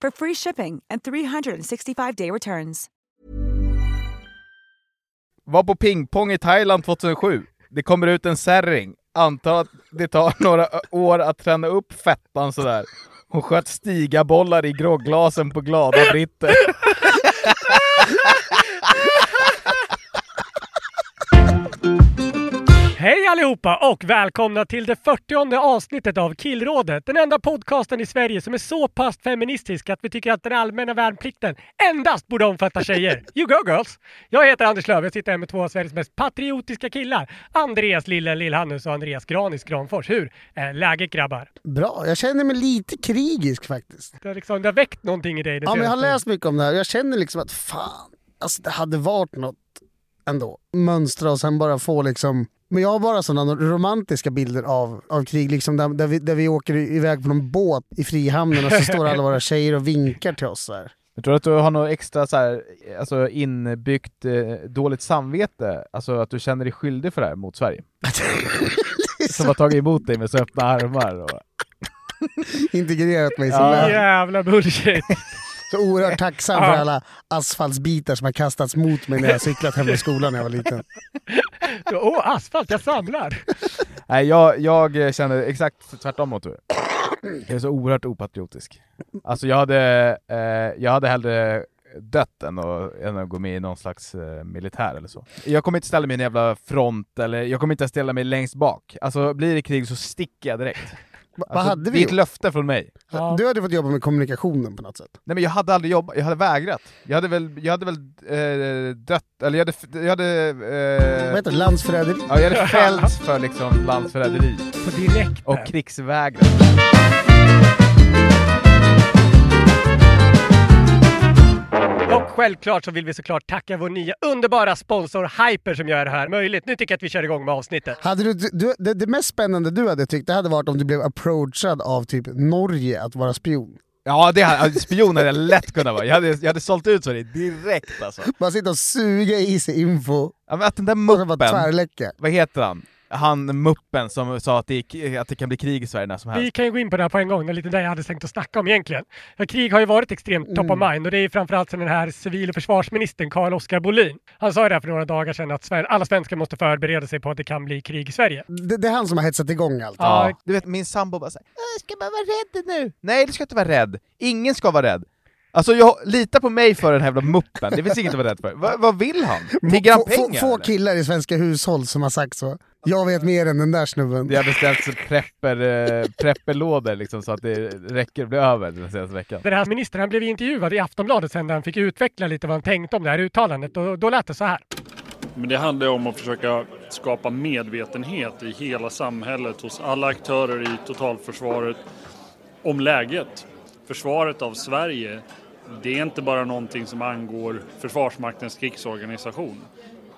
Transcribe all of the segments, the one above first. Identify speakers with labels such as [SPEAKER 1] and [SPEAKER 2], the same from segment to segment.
[SPEAKER 1] for free shipping and 365-day returns.
[SPEAKER 2] Var på pingpong i Thailand 2007. Det kommer ut en särring. Antar att det tar några år att träna upp fettan sådär. Hon sköt stigabollar i grogglasen på glada britter.
[SPEAKER 3] Hej allihopa och välkomna till det 40 avsnittet av Killrådet. Den enda podcasten i Sverige som är så pass feministisk att vi tycker att den allmänna värnplikten endast borde omfatta tjejer. You go girls! Jag heter Anders Löf, jag sitter här med två av Sveriges mest patriotiska killar. Andreas Lillen Lillhannus och Andreas Granis Granfors. Hur är läget grabbar?
[SPEAKER 4] Bra, jag känner mig lite krigisk faktiskt.
[SPEAKER 3] Det har, liksom, det har väckt någonting i dig.
[SPEAKER 4] Ja, men jag har läst mycket om det här och jag känner liksom att fan, alltså det hade varit något ändå. Mönstra och sen bara få liksom men jag har bara sådana romantiska bilder av, av krig, liksom där, där, vi, där vi åker iväg på någon båt i Frihamnen och så står alla våra tjejer och vinkar till oss. Så här.
[SPEAKER 2] Jag tror att du har något extra så här, alltså inbyggt eh, dåligt samvete, alltså att du känner dig skyldig för det här mot Sverige. Som har tagit emot dig med så öppna armar. Och...
[SPEAKER 4] Integrerat mig som
[SPEAKER 2] Ja.
[SPEAKER 4] lärare.
[SPEAKER 3] Jävla bullshit!
[SPEAKER 4] Så oerhört tacksam för alla asfaltsbitar som har kastats mot mig när jag cyklat hem från skolan när jag var liten.
[SPEAKER 3] Åh, oh, asfalt, jag samlar!
[SPEAKER 2] Nej, jag, jag känner exakt tvärtom mot dig. Jag är så oerhört opatriotisk. Alltså jag hade, eh, jag hade hellre dött än att, än att gå med i någon slags eh, militär eller så. Jag kommer inte ställa mig i en jävla front, eller jag kommer inte ställa mig längst bak. Alltså blir det krig så sticker jag direkt.
[SPEAKER 4] Va, vad
[SPEAKER 2] Alltså,
[SPEAKER 4] hade
[SPEAKER 2] det är
[SPEAKER 4] vi
[SPEAKER 2] ett
[SPEAKER 4] gjort?
[SPEAKER 2] löfte från mig.
[SPEAKER 3] Ja.
[SPEAKER 4] Du hade fått jobba med kommunikationen på något sätt.
[SPEAKER 2] Nej men jag hade aldrig jobbat, jag hade vägrat. Jag hade väl, jag hade väl eh, dött, eller jag hade, f- jag hade...
[SPEAKER 4] Vad
[SPEAKER 2] Eh,
[SPEAKER 4] heter det? Landsförräderi?
[SPEAKER 2] ja, jag hade fällts för liksom landsförräderi
[SPEAKER 3] På direkten.
[SPEAKER 2] och krigsvägran.
[SPEAKER 3] Och självklart så vill vi såklart tacka vår nya underbara sponsor Hyper som gör det här möjligt. Nu tycker jag att vi kör igång med avsnittet.
[SPEAKER 4] Hade du, du, det, det mest spännande du hade tyckt det hade varit om du blev approachad av typ Norge att vara spion.
[SPEAKER 2] Ja, det hade, alltså, spion hade jag lätt kunnat vara. Jag hade, jag hade sålt ut Sverige direkt alltså.
[SPEAKER 4] Bara sitta och suga i sig info
[SPEAKER 2] Ja, men att den där
[SPEAKER 4] och sen bara
[SPEAKER 2] muppen,
[SPEAKER 4] tvärläcka.
[SPEAKER 2] vad heter han? Han muppen som sa att det, gick- att det kan bli krig i Sverige när som
[SPEAKER 3] Vi
[SPEAKER 2] helst.
[SPEAKER 3] kan ju gå in på det här på en gång, det är lite det jag hade tänkt att snacka om egentligen. Ja, krig har ju varit extremt top of mind och det är ju framförallt sen den här civil och försvarsministern Carl-Oskar Bolin. Han sa ju det här för några dagar sedan att Sver- alla svenskar måste förbereda sig på att det kan bli krig i Sverige.
[SPEAKER 4] Det, det är han som har hetsat igång allt.
[SPEAKER 3] Ja.
[SPEAKER 2] Du vet, min sambo bara såhär "Äh, ”Ska man vara rädd nu?” Nej, du ska inte vara rädd. Ingen ska vara rädd. Alltså jag lita på mig för den här jävla muppen, det finns inget att vara rädd för. Va, vad vill han? Tigger han
[SPEAKER 4] Få- få-
[SPEAKER 2] pengar
[SPEAKER 4] Få
[SPEAKER 2] eller?
[SPEAKER 4] killar i svenska hushåll som har sagt så. Jag vet mer än den där snubben.
[SPEAKER 2] Det har beställts prepper, eh, prepperlådor liksom så att det räcker att bli över den senaste veckan.
[SPEAKER 3] Den här ministern han blev intervjuad i Aftonbladet sen när han fick utveckla lite vad han tänkte om det här uttalandet och då lät det så här.
[SPEAKER 5] Men det handlar ju om att försöka skapa medvetenhet i hela samhället hos alla aktörer i totalförsvaret om läget. Försvaret av Sverige, det är inte bara någonting som angår Försvarsmaktens krigsorganisation.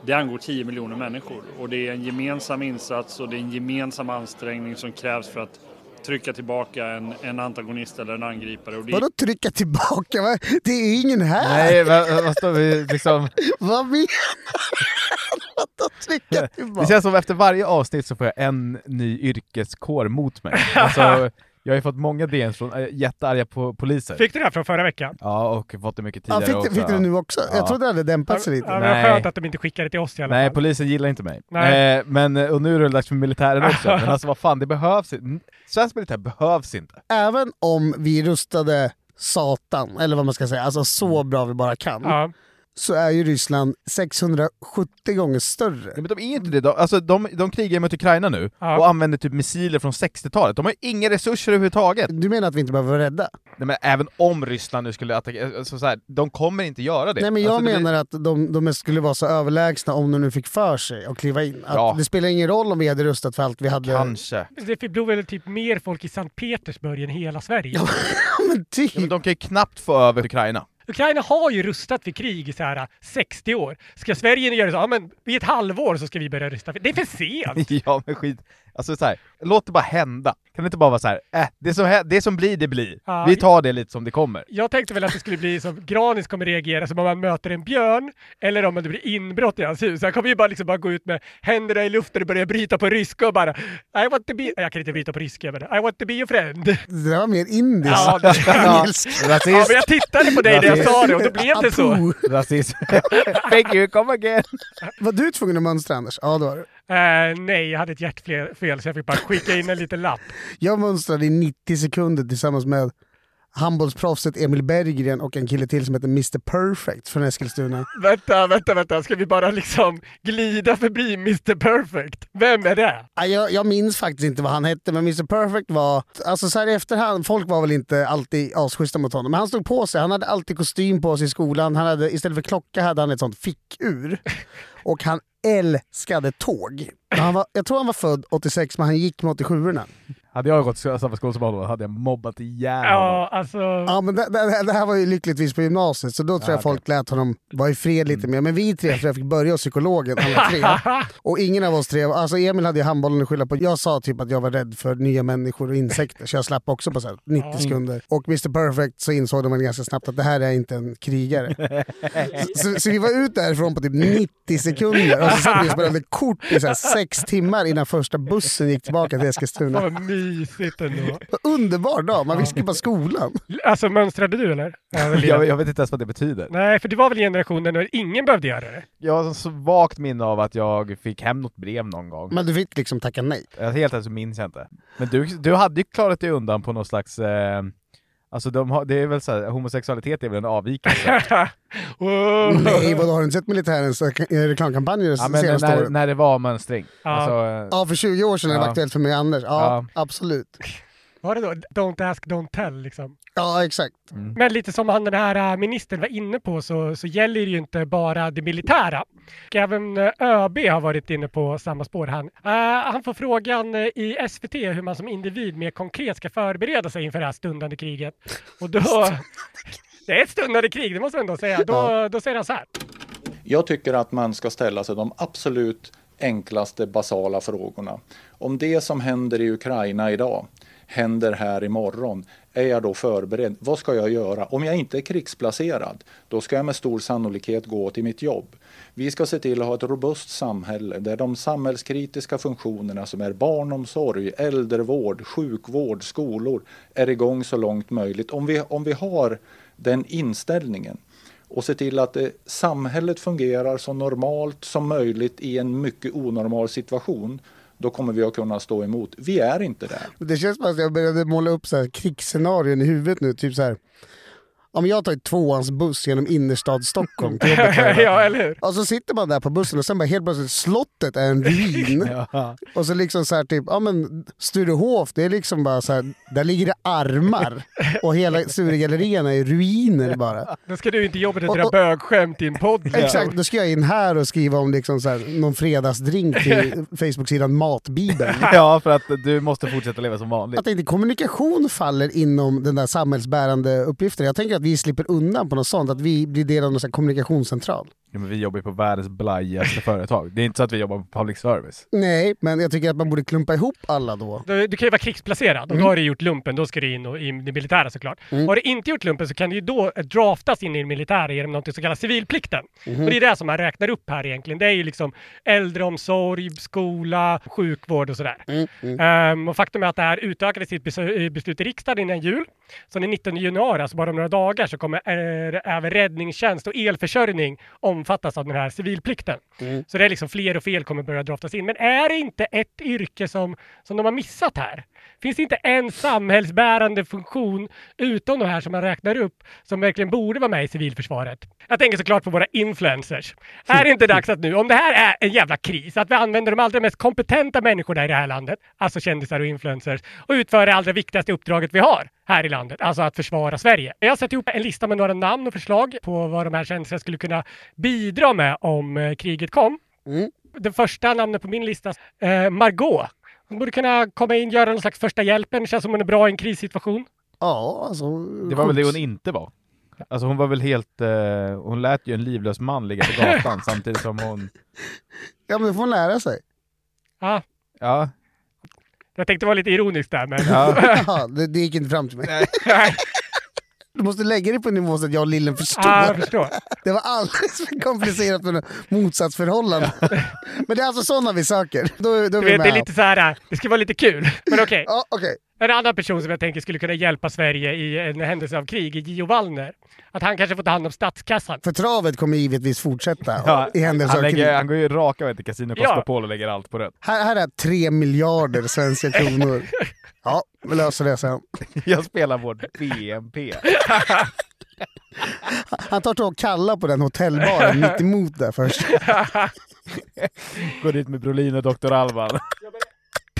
[SPEAKER 5] Det angår 10 miljoner människor och det är en gemensam insats och det är en gemensam ansträngning som krävs för att trycka tillbaka en, en antagonist eller en angripare. Och det är
[SPEAKER 4] Vadå trycka tillbaka? Va? Det är ju ingen här!
[SPEAKER 2] Nej, vad, vad står vi liksom...
[SPEAKER 4] Vad menar han? Vadå trycka
[SPEAKER 2] Det
[SPEAKER 4] tillbaka?
[SPEAKER 2] känns som efter varje avsnitt så får jag en ny yrkeskår mot mig. Alltså, jag har ju fått många DNs från äh, jättearga po poliser.
[SPEAKER 3] Fick du det här från förra veckan?
[SPEAKER 2] Ja, och fått det mycket
[SPEAKER 4] Ja,
[SPEAKER 2] tidigare
[SPEAKER 4] fick,
[SPEAKER 2] också.
[SPEAKER 4] du- fick du det nu också?
[SPEAKER 2] Ja.
[SPEAKER 4] Jag trodde det hade dämpat sig
[SPEAKER 3] Ja,
[SPEAKER 4] lite.
[SPEAKER 3] men vad
[SPEAKER 2] Nej.
[SPEAKER 3] skönt att de inte skickade det till oss i alla
[SPEAKER 2] Nej,
[SPEAKER 3] fall.
[SPEAKER 2] polisen gillar inte mig.
[SPEAKER 3] Nej.
[SPEAKER 2] Eh, men, eh, och nu är det dags för militären också. Men alltså vad fan, det behövs inte. Svensk militär behövs inte.
[SPEAKER 4] Även om vi rustade satan, eller vad man ska säga, alltså så bra vi bara kan,
[SPEAKER 3] Mm. Ja.
[SPEAKER 4] så är ju Ryssland 670 gånger större.
[SPEAKER 2] Ja, men de är ju inte det. De, alltså, de, de krigar mot Ukraina nu
[SPEAKER 3] Ja.
[SPEAKER 2] och använder typ missiler från 60-talet. De har ju inga resurser överhuvudtaget.
[SPEAKER 4] Du menar att vi inte behöver vara rädda?
[SPEAKER 2] Nej, men även om Ryssland nu skulle attackera, alltså, så här, de kommer inte göra det.
[SPEAKER 4] Nej men jag
[SPEAKER 2] alltså, det blir-
[SPEAKER 4] menar att de, de skulle vara så överlägsna om de nu fick för sig att kliva in. Att
[SPEAKER 2] Ja.
[SPEAKER 4] Det spelar ingen roll om vi hade rustat för allt vi hade.
[SPEAKER 2] Kanske.
[SPEAKER 3] Det bor väl typ mer folk i Sankt Petersburg än hela Sverige.
[SPEAKER 4] Ja, men typ.
[SPEAKER 2] Ja, men de kan ju knappt få över Ukraina.
[SPEAKER 3] Ukraina har ju rustat för krig i så här 60 år. Ska Sverige nu göra så? Ja, men i ett halvår så ska vi börja rusta. för- Det är för sent!
[SPEAKER 2] ja men skit. Alltså så här, låt det bara hända. Kan det inte bara vara så här, äh, det som, hä- det som blir det blir.
[SPEAKER 3] Ja.
[SPEAKER 2] Vi tar det lite som det kommer.
[SPEAKER 3] Jag tänkte väl att det skulle bli som Granis kommer reagera som om man möter en björn eller om det blir inbrott i hans hus. Han kommer ju bara, liksom bara gå ut med händerna i luften och börja bryta på ryska och bara I want to be... Jag kan inte bryta på ryska men I want to be your friend.
[SPEAKER 4] Det där var mer indiskt.
[SPEAKER 3] Ja, det-
[SPEAKER 4] Engelsk.
[SPEAKER 3] Ja, men
[SPEAKER 2] Rasism,
[SPEAKER 3] jag tittade på dig när jag sa det och då blev det så.
[SPEAKER 4] Apu.
[SPEAKER 2] rasism. Thank you, come again.
[SPEAKER 4] Var du tvungen att mönstra Anders? Ja det var du.
[SPEAKER 3] Eh, nej, jag hade ett hjärtfel så jag fick bara skicka in en liten lapp.
[SPEAKER 4] Jag mönstrade i 90 sekunder tillsammans med handbollsproffset Emil Berggren och en kille till som heter Mr Perfect från Eskilstuna.
[SPEAKER 3] Vänta, vänta, vänta. Ska vi bara liksom glida förbi Mr Perfect? Vem är det?
[SPEAKER 4] Ja, Jag, jag minns faktiskt inte vad han hette, men Mr Perfect var... Alltså så här i efterhand, folk var väl inte alltid asschyssta mot honom, men han stod på sig. Han hade alltid kostym på sig i skolan. Han hade, istället för klocka hade han ett sånt fickur. Och han älskade tåg. Han var, jag tror han var född 86, men han gick med 87orna.
[SPEAKER 2] Hade jag gått samma skola som honom hade jag mobbat ihjäl
[SPEAKER 3] Ja, alltså...
[SPEAKER 4] Ja, men det, det, det här var ju lyckligtvis på gymnasiet, så då tror jag folk lät honom vara i fred lite mer. Men vi tre tror jag fick börja hos psykologen, alla tre. Och ingen av oss tre, alltså Emil hade ju handbollen att skylla på. Jag sa typ att jag var rädd för nya människor och insekter, så jag slapp också på så här 90 sekunder. Och Mr Perfect så insåg de väl ganska snabbt att det här är inte en krigare. så, så vi var ut därifrån på typ 90 sekunder och så satt vi och spelade kort i så här sex timmar innan första bussen gick tillbaka till
[SPEAKER 3] Fan
[SPEAKER 4] Eskilstuna.
[SPEAKER 3] vad mysigt ändå.
[SPEAKER 4] Underbar dag, man visste på skolan.
[SPEAKER 3] Alltså mönstrade du eller? Ja, väl,
[SPEAKER 2] Jag, jag vet inte ens vad det betyder.
[SPEAKER 3] Nej, för det var väl generationen när ingen behövde göra det.
[SPEAKER 2] Jag har så svagt minne av att jag fick hem något brev någon gång.
[SPEAKER 4] Men du fick liksom tacka nej.
[SPEAKER 2] Jag, helt ärligt så minns jag inte. Men du, du hade ju klarat dig undan på någon slags... Eh, alltså de har, det är väl så här, homosexualitet är väl en avvikelse?
[SPEAKER 3] Wow.
[SPEAKER 4] Nej, vadå, har du inte sett militärens eh, reklamkampanjer
[SPEAKER 2] ja,
[SPEAKER 4] de
[SPEAKER 2] men
[SPEAKER 4] senaste
[SPEAKER 2] när,
[SPEAKER 4] åren?
[SPEAKER 2] när det var mönstring.
[SPEAKER 3] Ja.
[SPEAKER 2] Alltså, eh,
[SPEAKER 4] Ja, för 20 år sedan när det
[SPEAKER 2] Ja.
[SPEAKER 4] var aktuellt för mig och Anders. Ja, absolut.
[SPEAKER 3] Var det då Don't ask, don't tell liksom?
[SPEAKER 4] Ja, exakt.
[SPEAKER 2] Mm.
[SPEAKER 3] Men lite som han den här äh, ministern var inne på så, så gäller det ju inte bara det militära. Och Även äh, ÖB har varit inne på samma spår. Han, Äh, han får frågan äh, i SVT hur man som individ mer konkret ska förbereda sig inför det här stundande kriget. Och då... Det är ett stundande krig, det måste man ändå säga. Då, då säger han så här.
[SPEAKER 6] Jag tycker att man ska ställa sig de absolut enklaste basala frågorna. Om det som händer i Ukraina idag händer här imorgon, är jag då förberedd? Vad ska jag göra? Om jag inte är krigsplacerad, då ska jag med stor sannolikhet gå till mitt jobb. Vi ska se till att ha ett robust samhälle där de samhällskritiska funktionerna som är barnomsorg, äldrevård, sjukvård, skolor är igång så långt möjligt. Om vi, om vi har den inställningen och se till att eh, samhället fungerar så normalt som möjligt i en mycket onormal situation, då kommer vi att kunna stå emot. Vi är inte där.
[SPEAKER 4] Det känns som att jag började måla upp så här krigsscenarion i huvudet nu. Typ så här. Om jag tar tvåans buss genom innerstad Stockholm till jobbet varje dag.
[SPEAKER 3] ja, eller hur?
[SPEAKER 4] Och så sitter man där på bussen och sen bara helt plötsligt slottet är en ruin. Och så liksom så här typ, ja men Sturehof det är liksom bara så här, där ligger det armar. Och hela Sturegallerian är ruiner bara.
[SPEAKER 3] Då ska du inte jobba med dina bögskämt i en podd. liksom.
[SPEAKER 4] Exakt, då ska jag in här och skriva om liksom så här, någon fredagsdrink till Facebook-sidan Matbibeln.
[SPEAKER 2] ja, för att du måste fortsätta leva som vanligt.
[SPEAKER 4] Jag tänkte kommunikation faller inom den där samhällsbärande uppgiften. Jag tänker att vi slipper undan på något sånt, att vi blir del av någon sån här kommunikationscentral.
[SPEAKER 2] Ja, men vi jobbar ju på världens blajigaste företag. Det är inte så att vi jobbar på public service.
[SPEAKER 4] Nej, men jag tycker att man borde klumpa ihop alla då.
[SPEAKER 3] Du, du kan ju vara krigsplacerad och då har du gjort lumpen, då ska du in och, i det militära såklart. Har du inte gjort lumpen så kan du ju då eh, draftas in i det militära genom något som kallas civilplikten. Och det är det som man räknar upp här egentligen. Det är ju liksom äldreomsorg, skola, sjukvård och sådär. Ehm, och faktum är att det här utökade sitt besu- eh, beslut i riksdagen innan jul. Så den 19 januari, alltså bara om några dagar, så kommer eh, även räddningstjänst och elförsörjning omfattas av den här civilplikten. Så det är liksom fler och fler kommer börja draftas in. Men är det inte ett yrke som, som de har missat här? Finns det inte en samhällsbärande funktion utom de här som man räknar upp som verkligen borde vara med i civilförsvaret? Jag tänker såklart på våra influencers. Är det inte dags att nu, om det här är en jävla kris, att vi använder de allra mest kompetenta människorna i det här landet, alltså kändisar och influencers, och utför det allra viktigaste uppdraget vi har här i landet, alltså att försvara Sverige. Jag har satt ihop en lista med några namn och förslag på vad de här kändisarna skulle kunna bidra med om eh, kriget kom. Det första namnet på min lista, eh, Margot. Hon borde kunna komma in, göra någon slags första hjälpen. Känns som hon är bra i en krissituation.
[SPEAKER 4] Ja, alltså...
[SPEAKER 2] Det var väl det hon inte var? Alltså hon var väl helt... Eh, hon lät ju en livlös man ligga på gatan samtidigt som hon...
[SPEAKER 4] Ja, men det får hon lära sig.
[SPEAKER 3] Ja,
[SPEAKER 2] Ja,
[SPEAKER 3] jag tänkte vara lite ironisk där, men
[SPEAKER 2] ja.
[SPEAKER 4] Jaha, det, det gick inte fram till mig. Du måste lägga det på en nivå så att jag och lillen förstår.
[SPEAKER 3] ah, jag förstår.
[SPEAKER 4] Det var alldeles för komplicerat med något motsatsförhållande. Men det är alltså sådana vi söker. Då, då är
[SPEAKER 3] Du
[SPEAKER 4] vi
[SPEAKER 3] vet,
[SPEAKER 4] med.
[SPEAKER 3] det är lite så här, eh, det ska vara lite kul. Men okej,
[SPEAKER 4] Ja, okej.
[SPEAKER 3] en annan person som jag tänker skulle kunna hjälpa Sverige i en händelse av krig är Gio Wallner. Att han kanske får ta hand om statskassan.
[SPEAKER 4] För travet kommer givetvis fortsätta
[SPEAKER 2] ja.
[SPEAKER 4] i händelse
[SPEAKER 2] han,
[SPEAKER 4] av krig.
[SPEAKER 2] lägger, han går ju raka vägen till Casino
[SPEAKER 3] Ja.
[SPEAKER 2] Cosmopol och lägger allt på rött.
[SPEAKER 4] Här, här är tre miljarder svenska kronor. Ja, vi löser det sen.
[SPEAKER 2] Jag spelar vårt BNP.
[SPEAKER 4] Han tar tag och kallar på den hotellbaren mitt emot där först.
[SPEAKER 2] Går dit med Brolin och Dr. Alban.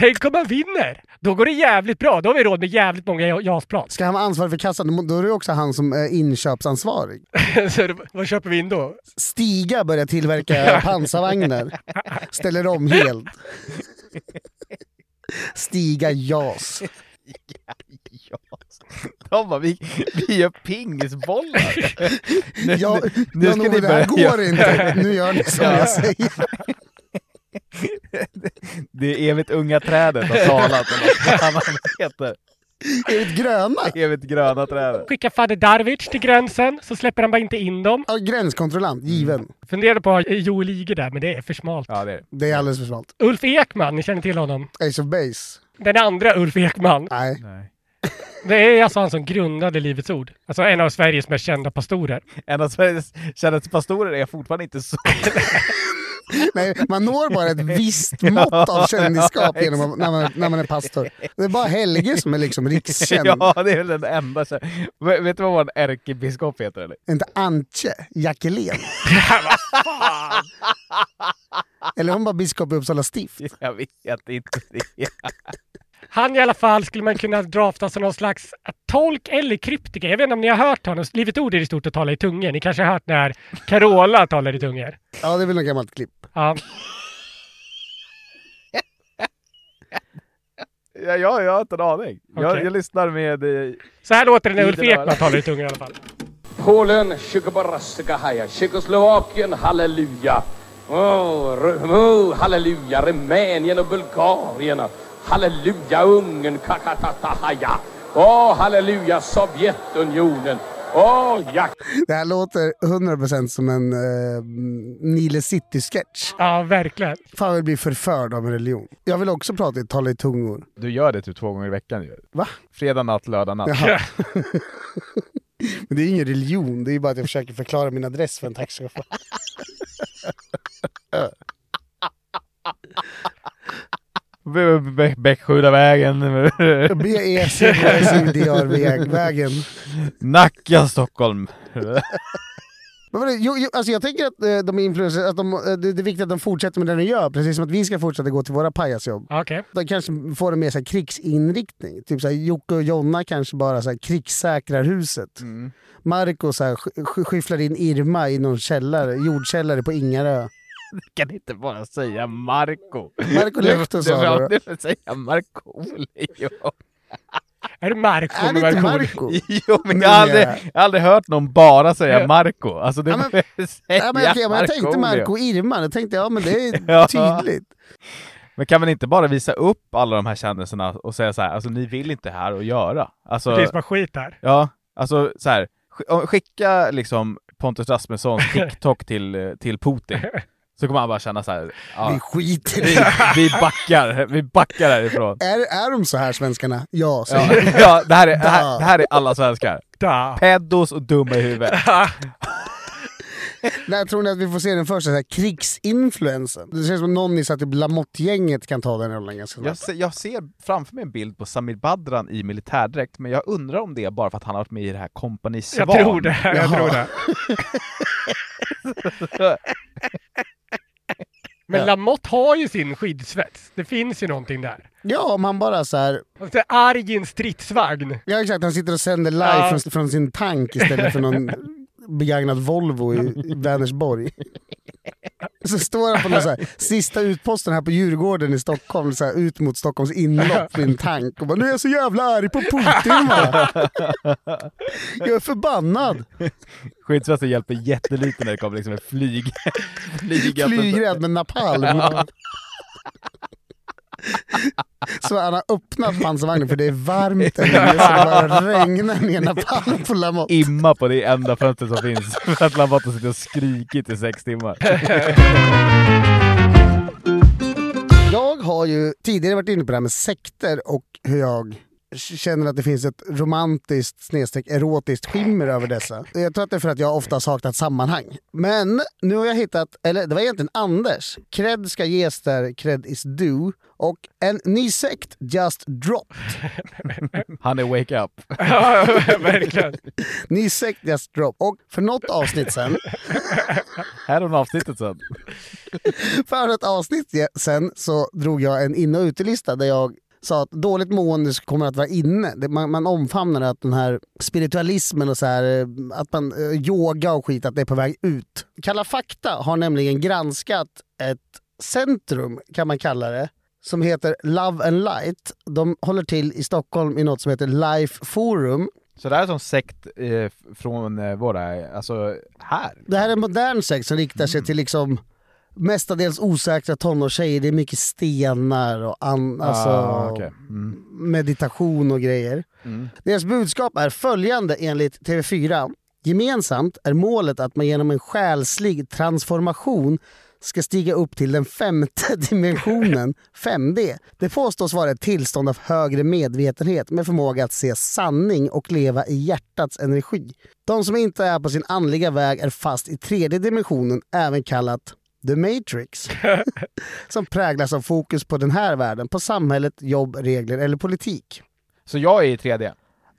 [SPEAKER 3] Tänk om man vinner! Då går det jävligt bra. Då har vi råd med jävligt många Ja- JAS-plan.
[SPEAKER 4] Ska han vara ansvarig för kassan, då må- då är det också han som är inköpsansvarig.
[SPEAKER 3] Så då- vad köper vi in då?
[SPEAKER 4] Stiga börjar tillverka pansarvagnar. Ställer om helt. Stiga JAS.
[SPEAKER 2] De bara, vi, vi gör pingisbollar. Nu,
[SPEAKER 4] Ja,
[SPEAKER 2] nu-
[SPEAKER 4] nu ska det här
[SPEAKER 2] göra-
[SPEAKER 4] går inte. Nu gör ni som
[SPEAKER 2] Ja.
[SPEAKER 4] jag säger.
[SPEAKER 2] Det evigt unga trädet har talat, eller vad fan han heter.
[SPEAKER 4] Evigt gröna.
[SPEAKER 2] Evigt gröna trädet.
[SPEAKER 3] Skicka Fader Darwich till gränsen så släpper han bara inte in dem.
[SPEAKER 4] Ja, gränskontrollant,
[SPEAKER 2] Mm.
[SPEAKER 4] given.
[SPEAKER 3] Funderade på att ha Joel Ige där, men det är för smalt.
[SPEAKER 2] Ja, det är det.
[SPEAKER 4] Det är alldeles för smalt.
[SPEAKER 3] Ulf Ekman, ni känner till honom?
[SPEAKER 4] Ace of Base.
[SPEAKER 3] Den andra Ulf Ekman.
[SPEAKER 4] Nej.
[SPEAKER 2] Nej.
[SPEAKER 3] Det är alltså han som grundade Livets Ord. Alltså en av Sveriges mest kända pastorer.
[SPEAKER 2] En av Sveriges kändaste pastorer är fortfarande inte så...
[SPEAKER 4] Nej, man når bara ett visst mått av kändisskap genom att, när, man, när man är pastor. Det är bara Helge som är liksom rikskänd.
[SPEAKER 2] Ja, det är väl den enda så... Vet vet du vad vår ärkebiskop heter eller?
[SPEAKER 4] Inte Antje Jackelén. Eller hon bara biskop i Uppsala stift.
[SPEAKER 2] Jag vet inte det.
[SPEAKER 3] Han i alla fall skulle man kunna drafta som någon slags tolk eller kryptiker. Jag vet inte om ni har hört honom. Livets Ord är i stort att tala i tungor. Ni kanske har hört när Carola talar i tungor.
[SPEAKER 4] Ja, det är väl något gammalt klipp.
[SPEAKER 3] Ja.
[SPEAKER 2] Ja, jag, jag har inte en aning. Jag,
[SPEAKER 3] Okej.
[SPEAKER 2] jag lyssnar med... eh,
[SPEAKER 3] Så här låter det när Ulf
[SPEAKER 2] Gillar det.
[SPEAKER 3] Ekman talar i tungor i alla fall.
[SPEAKER 7] Polen, Tjeckoslovakien, Tjeckoslovakien, halleluja. Oh, Ru- oh, halleluja, Rumänien och Bulgarien. Halleluja, Ungern, kakatatahaja. Åh, oh, halleluja, Sovjetunionen. Åh, oh, ja,
[SPEAKER 4] Det här låter 100% som en eh, Nile City-sketch.
[SPEAKER 3] Ja, verkligen.
[SPEAKER 4] Fan jag vill bli förförd av en religion. Jag vill också prata i tal i tungor.
[SPEAKER 2] Du gör det typ två gånger i veckan ju.
[SPEAKER 4] Va?
[SPEAKER 2] Fredag natt, lördag natt.
[SPEAKER 4] Jaha. Men det är ju ingen religion, det är ju bara att jag försöker förklara min adress för en taxichaufför.
[SPEAKER 2] B- B- Bäcksjudavägen,
[SPEAKER 4] BEC, E, vägen.
[SPEAKER 2] Nacka, Stockholm.
[SPEAKER 4] Men vadå, jo, jo, alltså jag tänker att eh, de är influencers, att de, eh, det, det är viktigt att de fortsätter med det de gör, precis som att vi ska fortsätta gå till våra pajasjobb.
[SPEAKER 3] Ja, Okej.
[SPEAKER 4] De kanske får en mer så här, krigsinriktning. Typ så här, Jocke och Jonna kanske bara så här, krigssäkrar huset. Marco så här, sk- sk- skyfflar in Irma i någon källare, jordkällare på Ingarö.
[SPEAKER 2] kan inte bara säga Marco.
[SPEAKER 4] Marco Lehto sa det. då.
[SPEAKER 2] Du får säga Markoolio.
[SPEAKER 3] Är det Mark
[SPEAKER 4] Är
[SPEAKER 3] som
[SPEAKER 4] det inte
[SPEAKER 3] verkar-
[SPEAKER 4] Marco?
[SPEAKER 2] Jo, men jag har aldrig, jag har aldrig hört någon bara säga Marco. Alltså, du
[SPEAKER 4] Mm. Ja, men-
[SPEAKER 2] får säga
[SPEAKER 4] Ja, men, okej, men jag tänkte
[SPEAKER 2] Markoolio.
[SPEAKER 4] Marco och Irma, då tänkte jag ja, men det är
[SPEAKER 2] Ja.
[SPEAKER 4] tydligt.
[SPEAKER 2] Men kan man inte bara visa upp alla de här kändisarna och säga så här, alltså ni vill inte här och göra.
[SPEAKER 3] Det
[SPEAKER 2] Alltså,
[SPEAKER 3] finns bara skit där.
[SPEAKER 2] ja, alltså så här, sk- om- skicka liksom Pontus Rasmussons TikTok till, eh, till Putin. Så kommer han bara känna så här,
[SPEAKER 4] Vi
[SPEAKER 2] ja,
[SPEAKER 4] skiter i
[SPEAKER 2] vi, vi backar, vi backar härifrån.
[SPEAKER 4] är, är de så här svenskarna? Ja, säger
[SPEAKER 2] Ja,
[SPEAKER 4] jag.
[SPEAKER 2] ja det, här är, det, här, det här är alla svenskar.
[SPEAKER 3] Da.
[SPEAKER 2] Peddos och dumma i huvudet.
[SPEAKER 4] När tror ni att vi får se den första så här, krigsinfluensen? Det känns som någon i så här typ Lamotte-gänget kan ta den rollen ganska
[SPEAKER 2] Jag,
[SPEAKER 4] snabbt.
[SPEAKER 2] se, jag ser framför mig en bild på Samir Badran i militärdräkt, men jag undrar om det är bara för att han har varit med i det här Kompani Svan.
[SPEAKER 3] Jag tror det. Jag tror det. Men Lamotte har ju sin skyddsvets. Det finns ju någonting där.
[SPEAKER 4] Ja, om han bara så här,
[SPEAKER 3] Alltså, arg i en stridsvagn.
[SPEAKER 4] Ja exakt, han sitter och sänder live
[SPEAKER 3] Ja.
[SPEAKER 4] från, från sin tank istället för någon begagnad Volvo i, i Vänersborg. Så står han på någon så här, sista utposten här på Djurgården i Stockholm, så här, ut mot Stockholms inlopp i en tank och bara “Nu är jag så jävla arg på Putin va! Jag är förbannad!
[SPEAKER 2] Skyddsvästen hjälper jättelite när det kommer liksom en flyg... flyg
[SPEAKER 4] Flygrädd med napalm!” Så han har öppnat pansarvagnen för det är varmt där inne, så det bara regnar ner napalm på Lamotte.
[SPEAKER 2] Imma på det enda fönstret som finns för att Lavato sitter och skrikit i sex timmar.
[SPEAKER 4] Jag har ju tidigare varit inne på det här med sekter och hur jag känner att det finns ett romantiskt snedstreck erotiskt skimmer över dessa. Jag tror att det är för att jag ofta har saknat sammanhang. Men nu har jag hittat, eller det var egentligen Anders. Cred ska ges där cred is due. Och en ny sekt just dropped.
[SPEAKER 2] Han är wake up.
[SPEAKER 3] Ja, verkligen.
[SPEAKER 4] Ny sekt just dropped. Och för något avsnitt sen
[SPEAKER 2] Här har avsnittet sen.
[SPEAKER 4] För ett avsnitt ge- sen så drog jag en in och utelista där jag sa att dåligt mående kommer att vara inne. Det- Man, man omfamnar att den här spiritualismen och så här, eh, att man eh, yoga och skit, att det är på väg ut. Kalla fakta har nämligen granskat ett centrum, kan man kalla det, som heter Love and Light. De håller till i Stockholm i något som heter Life Forum.
[SPEAKER 2] Så det här är som sekt eh, f- från eh, våra, alltså här.
[SPEAKER 4] Det här är en modern sekt som riktar
[SPEAKER 2] Mm.
[SPEAKER 4] sig till liksom mestadels osäkra tonårstjejer. Det är mycket stenar och an, alltså,
[SPEAKER 2] Ah, okej. mm.
[SPEAKER 4] meditation och grejer. Deras budskap är följande enligt TV4. Gemensamt är målet att man genom en själslig transformation ska stiga upp till den femte dimensionen, 5D. Det påstås vara ett tillstånd av högre medvetenhet med förmåga att se sanning och leva i hjärtats energi. De som inte är på sin andliga väg är fast i tredje dimensionen, även kallat The Matrix som präglas av fokus på den här världen, på samhället, jobb, regler eller politik.
[SPEAKER 2] Så jag är i 3D.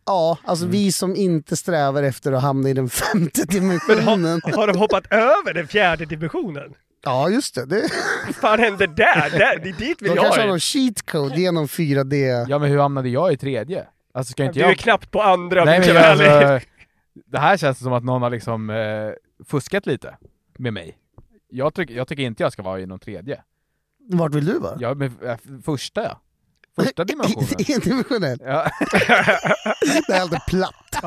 [SPEAKER 4] Ja, alltså
[SPEAKER 2] Mm.
[SPEAKER 4] vi som inte strävar efter att hamna i den femte dimensionen.
[SPEAKER 3] Har de hoppat över den fjärde dimensionen?
[SPEAKER 4] Ja, just det. det
[SPEAKER 3] Vad fan hände där? där det är dit
[SPEAKER 4] de
[SPEAKER 3] vill
[SPEAKER 4] kanske har
[SPEAKER 3] jag.
[SPEAKER 4] någon cheat code genom 4D.
[SPEAKER 2] Ja men hur hamnade jag i 3D? Alltså ska inte
[SPEAKER 3] Du är
[SPEAKER 2] jag...
[SPEAKER 3] knappt på andra.
[SPEAKER 2] Nej men
[SPEAKER 3] vilken
[SPEAKER 2] jag,
[SPEAKER 3] härlig-
[SPEAKER 2] alltså, det här känns som att någon har liksom eh, fuskat lite med mig. Jag, tycker- jag tycker inte jag ska vara i någon 3D.
[SPEAKER 4] Vart vill du vara?
[SPEAKER 2] Jag, men, eh, första ja. Första dimensionen.
[SPEAKER 4] Endimensionell.
[SPEAKER 2] Ja.
[SPEAKER 4] Det är alltid platt.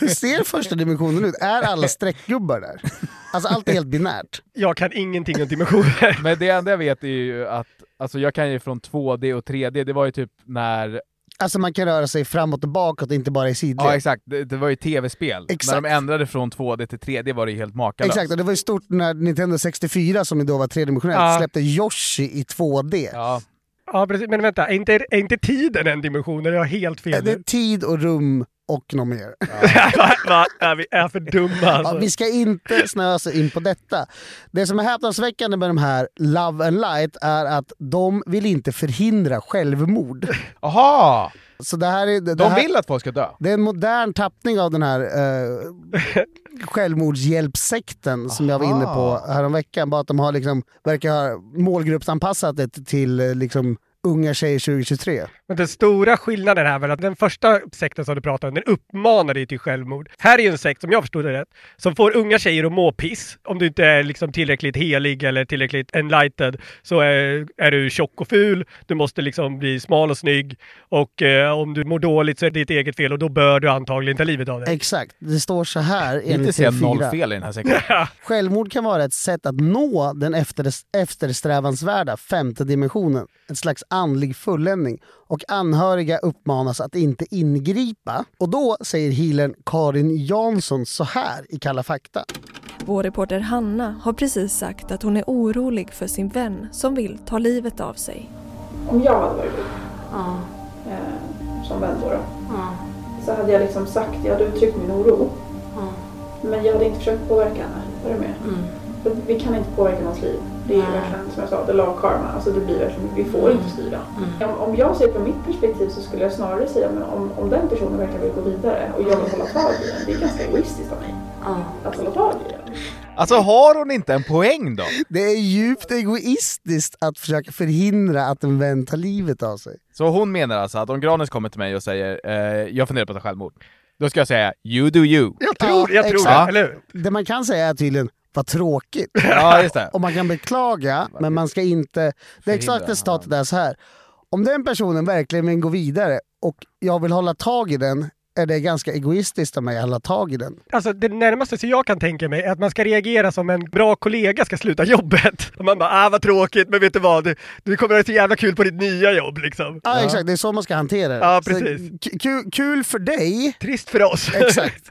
[SPEAKER 4] Hur ser första dimensionen ut? Är alla streckgubbar där? Alltså allt är helt binärt.
[SPEAKER 3] jag kan ingenting om dimensioner.
[SPEAKER 2] Men det enda jag vet är ju att, alltså jag kan ju från 2D och 3D, det var ju typ när,
[SPEAKER 4] Alltså man kan röra sig framåt och bakåt, inte bara i sidled.
[SPEAKER 2] ja exakt, det, det var ju tv-spel. När
[SPEAKER 4] Exakt.
[SPEAKER 2] de ändrade från 2D till 3D var det ju helt makalöst.
[SPEAKER 4] Exakt, och det var ju stort när Nintendo 64 som ju då var tredimensionellt
[SPEAKER 3] Ja.
[SPEAKER 4] släppte Yoshi i 2D.
[SPEAKER 2] Ja,
[SPEAKER 3] Ja, precis. Men vänta, är inte, är inte tiden en dimension? Eller har jag helt
[SPEAKER 4] Det
[SPEAKER 3] fel? nu?
[SPEAKER 4] är tid och rum och något mer.
[SPEAKER 3] Va- va? Ja, vi är för dumma
[SPEAKER 4] Ja,
[SPEAKER 3] alltså.
[SPEAKER 4] vi ska inte snösa in på detta. Det som är häpnadsväckande med de här Love and Light är att de vill inte förhindra självmord.
[SPEAKER 2] Aha!
[SPEAKER 4] Så det här är... Det, det
[SPEAKER 2] De
[SPEAKER 4] här,
[SPEAKER 2] vill att folk ska dö?
[SPEAKER 4] Det är en modern tappning av den här eh, självmordshjälpsekten som jag var inne på häromveckan. Bara att de har liksom, verkar ha målgruppsanpassat det till eh, liksom, unga tjejer 2023.
[SPEAKER 3] Men den stora skillnaden här är väl att den första sekten som du pratade om, den uppmanar dig till självmord. Här är ju en sekt, som jag förstod det rätt, som får unga tjejer att må piss. Om du inte är liksom tillräckligt helig eller tillräckligt enlightened så är, är du tjock och ful. Du måste liksom bli smal och snygg. Och eh, om du mår dåligt så är det ditt eget fel och då bör du antagligen ta livet av dig.
[SPEAKER 4] Exakt, det står så här
[SPEAKER 2] Inte
[SPEAKER 4] enligt
[SPEAKER 2] se noll
[SPEAKER 4] TV4.
[SPEAKER 2] fel i den här sektorn.
[SPEAKER 4] Självmord kan vara ett sätt att nå den efterst- eftersträvansvärda femte dimensionen, en slags andlig fulländning. Och anhöriga uppmanas att inte ingripa. Och då säger healern Karin Jansson så här i Kalla fakta.
[SPEAKER 8] Vår reporter Hanna har precis sagt att hon är orolig för sin vän som vill ta livet av sig.
[SPEAKER 9] Om jag hade varit du, eh, som vän då, då så hade jag liksom sagt, jag hade uttryckt min oro. Men jag hade inte försökt påverka henne. Är du med? För att vi kan inte påverka någons liv. Det är ju verkligen som jag sa, the law of karma. Alltså det blir verkligen, vi får inte styra. Om, om jag ser från mitt perspektiv så skulle jag snarare säga men om, om den personen verkar vilja gå vidare och jag vill hålla tag i den. Det är ganska egoistiskt av mig att hålla tag i den.
[SPEAKER 2] Alltså har hon inte en poäng då?
[SPEAKER 4] Det är djupt egoistiskt att försöka förhindra att en vän tar livet av sig.
[SPEAKER 2] Så hon menar alltså att om Granis kommer till mig och säger eh, jag funderar på att ta självmord, då ska jag säga you do you.
[SPEAKER 4] Jag
[SPEAKER 3] Tror, jag tror det, eller hur?
[SPEAKER 4] Det man kan säga är tydligen, vad tråkigt.
[SPEAKER 2] Ja, just det.
[SPEAKER 4] Och man kan beklaga, men man ska inte... Det exakta citatet är så här. Om den personen verkligen vill gå vidare och jag vill hålla tag i den, är det ganska egoistiskt av mig att hålla tag i den.
[SPEAKER 3] Alltså det närmaste som jag kan tänka mig är att man ska reagera som en bra kollega ska sluta jobbet. Och man bara ah vad tråkigt men vet du vad, du, du kommer att ha så jävla kul på ditt nya jobb liksom.
[SPEAKER 4] Ja, exakt. Det är så man ska hantera det.
[SPEAKER 3] Ja,
[SPEAKER 4] Så
[SPEAKER 3] precis.
[SPEAKER 4] k- Kul, kul för dig.
[SPEAKER 3] Trist för oss.
[SPEAKER 4] Exakt.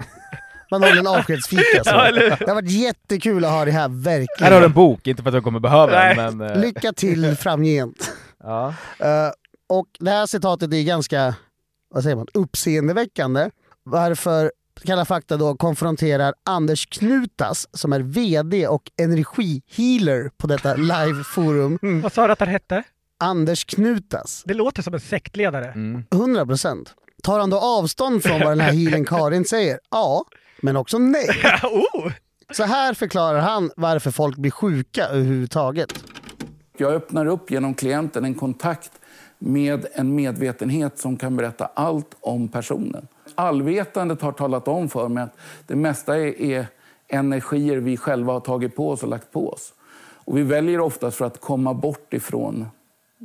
[SPEAKER 4] Man håller en avskedsfika. Så.
[SPEAKER 3] Ja, eller hur?
[SPEAKER 4] det har varit jättekul att ha det här,
[SPEAKER 2] Här har du
[SPEAKER 4] verkligen.
[SPEAKER 2] en bok, inte för att du kommer behöva
[SPEAKER 3] Nej.
[SPEAKER 2] den men... eh,
[SPEAKER 4] Lycka till framgent.
[SPEAKER 2] ja.
[SPEAKER 4] Eh, och det här citatet är ganska vad säger man, uppseendeväckande. Varför Kalla fakta då konfronterar Anders Knutas som är VD och energihealer på detta liveforum.
[SPEAKER 3] Vad sa du att han hette?
[SPEAKER 4] Anders Knutas,
[SPEAKER 3] Det låter som en sektledare.
[SPEAKER 4] 100 procent. Tar han då avstånd från vad den här healern Karin säger? Ja, men också nej.
[SPEAKER 3] oh.
[SPEAKER 4] Så här förklarar han varför folk blir sjuka överhuvudtaget.
[SPEAKER 10] Jag öppnar upp genom klienten en kontakt med en medvetenhet som kan berätta allt om personen. Allvetandet har talat om för mig att det mesta är, är energier vi själva har tagit på oss och lagt på oss. Och vi väljer oftast för att komma bort ifrån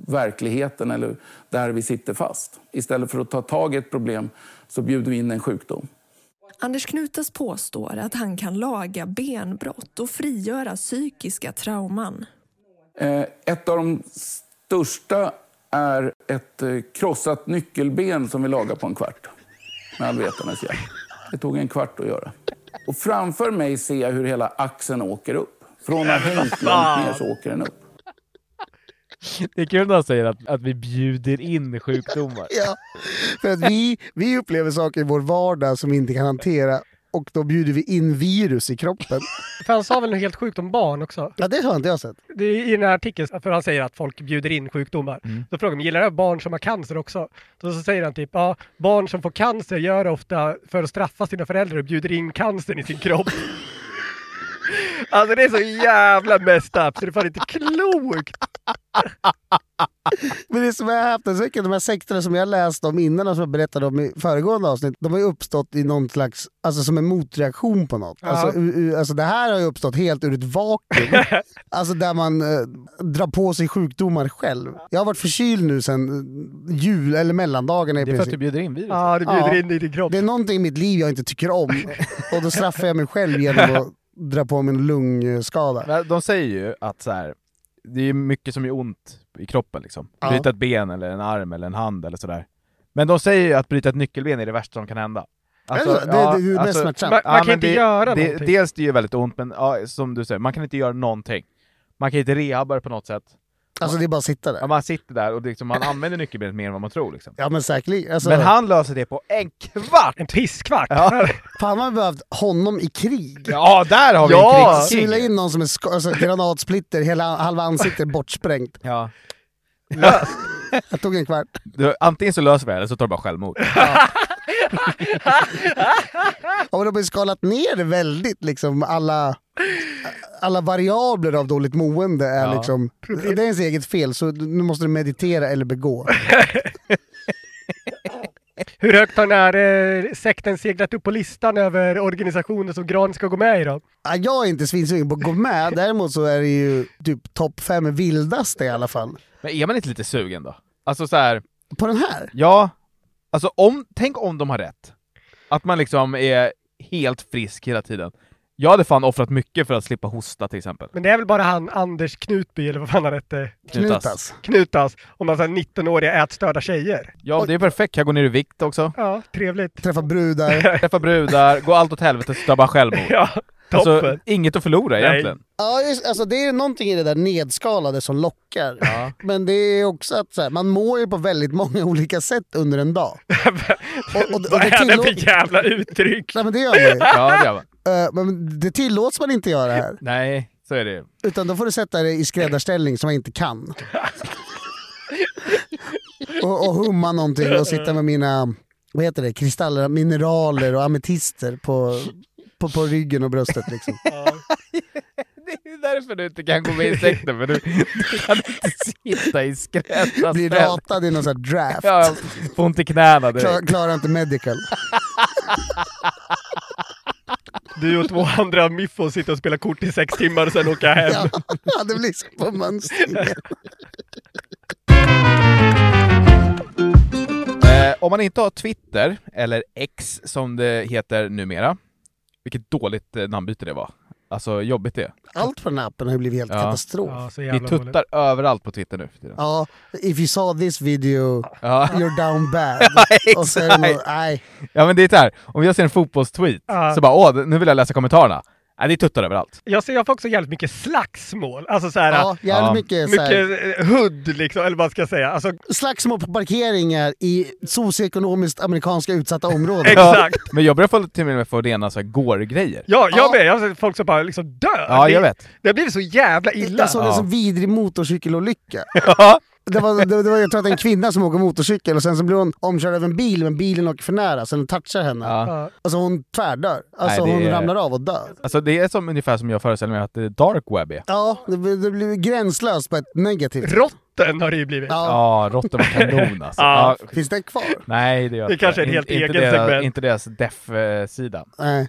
[SPEAKER 10] verkligheten eller där vi sitter fast. Istället för att ta tag i ett problem så bjuder vi in en sjukdom.
[SPEAKER 8] Anders Knutas påstår att han kan laga benbrott och frigöra psykiska trauman.
[SPEAKER 10] Eh, Ett av de största är ett eh, krossat nyckelben som vi lagar på en kvart. Med all vetandes hjälp. Det tog en kvart att göra. Och framför mig ser jag hur hela axeln åker upp. Från att ha hängt långt ner så åker den upp.
[SPEAKER 2] Det är kul när han säger att, att vi bjuder in sjukdomar.
[SPEAKER 4] Ja, för att vi, vi upplever saker i vår vardag som vi inte kan hantera och då bjuder vi in virus i kroppen.
[SPEAKER 3] För han sa väl något helt sjukt om barn också?
[SPEAKER 4] Ja, det har inte jag sett.
[SPEAKER 3] Det är I den här artikeln, för han säger att folk bjuder in sjukdomar. Då frågar man, gillar jag barn som har cancer också? Så, så säger han typ, ja, barn som får cancer gör det ofta för att straffa sina föräldrar och bjuder in cancern i sin kropp. alltså det är så jävla messed up så det är fan inte klokt!
[SPEAKER 4] Men det som är häpnadsväckande, de här sekterna som jag läst om innan och som jag berättade om i föregående avsnitt, de har ju uppstått i någon slags, alltså som en motreaktion på något. Alltså, u- u- alltså det här har ju uppstått helt ur ett vakuum. alltså där man eh, drar på sig sjukdomar själv. Jag har varit förkyld nu sedan eh, jul, eller mellandagarna i
[SPEAKER 2] Det är för att
[SPEAKER 4] princip.
[SPEAKER 2] du bjuder in virus.
[SPEAKER 3] Ja, du bjuder
[SPEAKER 4] Ja.
[SPEAKER 3] in i din kropp.
[SPEAKER 4] Det är någonting i mitt liv jag inte tycker om och då straffar jag mig själv genom att dra på mig en lungskada.
[SPEAKER 2] Men De säger ju att så här, det är mycket som gör ont i kroppen liksom.
[SPEAKER 4] Ja.
[SPEAKER 2] Bryta ett ben eller en arm eller en hand eller sådär. Men de säger ju att bryta ett nyckelben är det värsta som kan hända. Alltså,
[SPEAKER 4] Är det så? Det- det är ju mest smärtsamt.
[SPEAKER 3] Man- man kan
[SPEAKER 2] men
[SPEAKER 3] inte göra någonting.
[SPEAKER 2] Dels det gör väldigt ont, men ja, som du säger, man kan inte göra någonting. Man kan inte rehabba det på något sätt.
[SPEAKER 4] Alltså det är bara att sitta
[SPEAKER 2] Ja,
[SPEAKER 4] där.
[SPEAKER 2] man sitter där och det är liksom, man använder nyckelbenet mer än vad man tror liksom.
[SPEAKER 4] Ja men säkerligen. Alltså,
[SPEAKER 2] Men han löser det på en kvart!
[SPEAKER 3] En pisskvart!
[SPEAKER 2] Ja.
[SPEAKER 4] Fan man har behövt honom i krig.
[SPEAKER 2] Ja, där har vi
[SPEAKER 3] Ja!
[SPEAKER 2] en
[SPEAKER 4] Sula
[SPEAKER 2] krigsking!
[SPEAKER 4] in någon som är sk- alltså, granatsplitter, hela, halva ansiktet är bortsprängt.
[SPEAKER 2] Ja.
[SPEAKER 4] Jag tog en kvart.
[SPEAKER 2] Du, antingen så löser vi det eller så tar du bara självmord.
[SPEAKER 4] Och de har ju skalat ner det väldigt, liksom alla, alla variabler av dåligt mående är
[SPEAKER 2] Ja.
[SPEAKER 4] liksom... Det är ens eget fel, så nu måste du meditera eller begå.
[SPEAKER 3] Hur högt har den här eh, sekten seglat upp på listan över organisationer som Gran ska gå med i då?
[SPEAKER 4] Ja, Jag är inte svinsugen på att gå med, däremot så är det ju typ topp fem vildaste i alla fall.
[SPEAKER 2] Men är man inte lite sugen då? Alltså så här,
[SPEAKER 4] På den här?
[SPEAKER 2] ja, alltså om, tänk om de har rätt. Att man liksom är helt frisk hela tiden. Jag hade fan offrat mycket för att slippa hosta till exempel.
[SPEAKER 3] Men det är väl bara han Anders Knutby, eller vad fan han hette,
[SPEAKER 4] Knutas.
[SPEAKER 3] Knutas, och massa 19-åriga ätstörda tjejer.
[SPEAKER 2] Ja, det är perfekt. Jag går ner i vikt också.
[SPEAKER 3] Ja, trevligt.
[SPEAKER 4] Träffa brudar.
[SPEAKER 2] Träffa brudar, gå allt åt helvete, så tar jag bara självmord.
[SPEAKER 3] Ja, toppen.
[SPEAKER 2] Alltså, inget att förlora
[SPEAKER 3] Nej.
[SPEAKER 2] egentligen.
[SPEAKER 4] Ja, just, alltså, det är någonting i det där nedskalade som lockar. Men det är också att så här, man mår ju på väldigt många olika sätt under en dag. Och, och, och
[SPEAKER 3] Vad
[SPEAKER 4] det
[SPEAKER 3] är det
[SPEAKER 4] tillåter...
[SPEAKER 3] för jävla uttryck?
[SPEAKER 4] Nej, men det gör man ju.
[SPEAKER 2] Ja, det gör man.
[SPEAKER 4] Eh, Men det tillåts man inte göra här.
[SPEAKER 2] Nej, så är det ju.
[SPEAKER 4] Utan då får du sätta dig i skräddarställning som man inte kan. och, och humma någonting och sitta med mina vad heter det, kristaller, mineraler och ametister på, på, på ryggen och bröstet. Liksom.
[SPEAKER 2] Det är därför du inte kan gå med i sekten, för du, du kan inte sitta i
[SPEAKER 4] Blir
[SPEAKER 2] skräddarställning.
[SPEAKER 4] ratad i någon sån här draft.
[SPEAKER 2] Ja, får ont i knäna direkt.
[SPEAKER 4] Klar, klarar inte medical.
[SPEAKER 3] Du och två andra miffon sitter och spelar kort i sex timmar och sen åka hem.
[SPEAKER 4] Ja, det blir så på mönstringen.
[SPEAKER 2] Eh, om man inte har Twitter, eller X som det heter numera, vilket dåligt eh, namnbyte det var. Alltså jobbigt det.
[SPEAKER 4] Allt på den här appen har ju blivit helt
[SPEAKER 2] Ja.
[SPEAKER 4] katastrof.
[SPEAKER 3] Ja, så
[SPEAKER 2] Vi
[SPEAKER 3] jävla dåligt.
[SPEAKER 2] tuttar överallt på Twitter nu för tiden.
[SPEAKER 4] Ja, if you saw this video,
[SPEAKER 2] Ja.
[SPEAKER 4] you're down bad.
[SPEAKER 2] Ja,
[SPEAKER 4] och så är det
[SPEAKER 2] exakt.
[SPEAKER 4] någon, nej,
[SPEAKER 2] Ja men det är så här. om jag ser en fotbollstweet
[SPEAKER 3] Ja.
[SPEAKER 2] så bara åh, nu vill jag läsa kommentarerna. Nej, det är tuttar överallt.
[SPEAKER 3] Jag ser jag får också jävligt mycket slagsmål. Alltså såhär,
[SPEAKER 4] ja, jävligt
[SPEAKER 2] Ja.
[SPEAKER 4] mycket, så här,
[SPEAKER 3] mycket eh, hud liksom, eller vad man ska säga. Alltså,
[SPEAKER 4] slagsmål på parkeringar i socioekonomiskt amerikanska utsatta områden.
[SPEAKER 3] exakt.
[SPEAKER 2] Men jag börjar få till och med få rena så här går-grejer.
[SPEAKER 3] Ja, jag
[SPEAKER 4] Ja.
[SPEAKER 3] med. Jag har sett folk som bara liksom dör.
[SPEAKER 2] Ja, jag vet.
[SPEAKER 3] Det har blivit så jävla illa.
[SPEAKER 4] Jag såg en
[SPEAKER 2] Ja.
[SPEAKER 4] sån vidrig motorcykelolycka.
[SPEAKER 2] Ja.
[SPEAKER 4] Det var, det, det var, jag tror att det är en kvinna som åker motorcykel och sen så blir hon omkörd av en bil men bilen åker för nära så den touchar henne.
[SPEAKER 2] Ja.
[SPEAKER 3] Ja.
[SPEAKER 4] Alltså hon tvärdör. Alltså
[SPEAKER 2] Nej, det
[SPEAKER 4] hon
[SPEAKER 2] är-
[SPEAKER 4] ramlar av och dör.
[SPEAKER 2] Alltså det är som, ungefär som jag föreställer mig att det är dark web är.
[SPEAKER 4] Ja, det, blir- det blir gränslöst på ett negativt sätt.
[SPEAKER 3] Rotten har det ju blivit.
[SPEAKER 4] Ja,
[SPEAKER 2] Ja, råttor var kanon alltså.
[SPEAKER 3] Ja.
[SPEAKER 2] Ja.
[SPEAKER 4] Finns den kvar?
[SPEAKER 2] Nej, det gör
[SPEAKER 3] Det
[SPEAKER 2] inte.
[SPEAKER 3] kanske är ett
[SPEAKER 2] In-
[SPEAKER 3] helt
[SPEAKER 2] inte
[SPEAKER 3] eget
[SPEAKER 2] deras,
[SPEAKER 3] segment.
[SPEAKER 2] Inte deras def-sida.
[SPEAKER 4] Nej.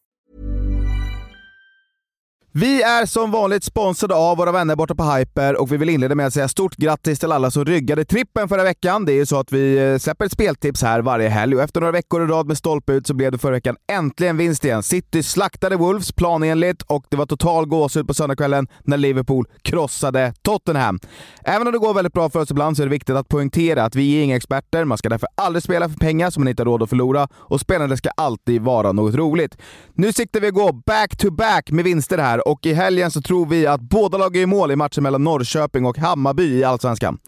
[SPEAKER 11] Vi är som vanligt sponsrade av våra vänner borta på Hyper och vi vill inleda med att säga stort grattis till alla som ryggade trippen förra veckan. Det är ju så att vi eh, släpper ett speltips här varje helg och efter några veckor i rad med stolpe ut så blev det förra veckan äntligen vinst igen. City slaktade Wolves planenligt och det var total gåshud på söndagskvällen när Liverpool krossade Tottenham. Även om det går väldigt bra för oss ibland så är det viktigt att poängtera att vi är inga experter. Man ska därför aldrig spela för pengar som man inte har råd att förlora och spelandet ska alltid vara något roligt. Nu siktar vi att gå back-to-back med vinster här och i helgen så tror vi att båda lagen gör mål i matchen mellan Norrköping och Hammarby i Allsvenskan.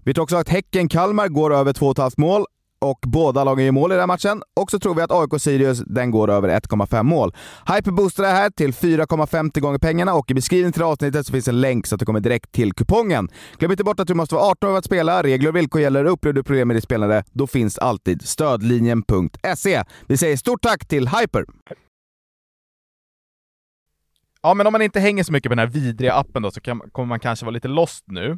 [SPEAKER 11] Vi tror också att Häcken-Kalmar går över 2,5 mål och båda lagen gör mål i den här matchen. Och så tror vi att AIK-Sirius, den går över 1,5 mål. Hyper boostar det här till 4,50 gånger pengarna och i beskrivningen till det här avsnittet så finns en länk så att du kommer direkt till kupongen. Glöm inte bort att du måste vara 18 år för att spela. Regler och villkor gäller. Upplever du problem med ditt spelande, då finns alltid stödlinjen.se. Vi säger stort tack till Hyper!
[SPEAKER 2] Ja, men om man inte hänger så mycket på den här vidriga appen då så kan, kommer man kanske vara lite lost nu.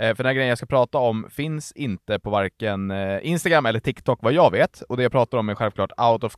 [SPEAKER 2] Eh, för den här grejen jag ska prata om finns inte på varken eh, Instagram eller TikTok vad jag vet. Och det jag pratar om är självklart out of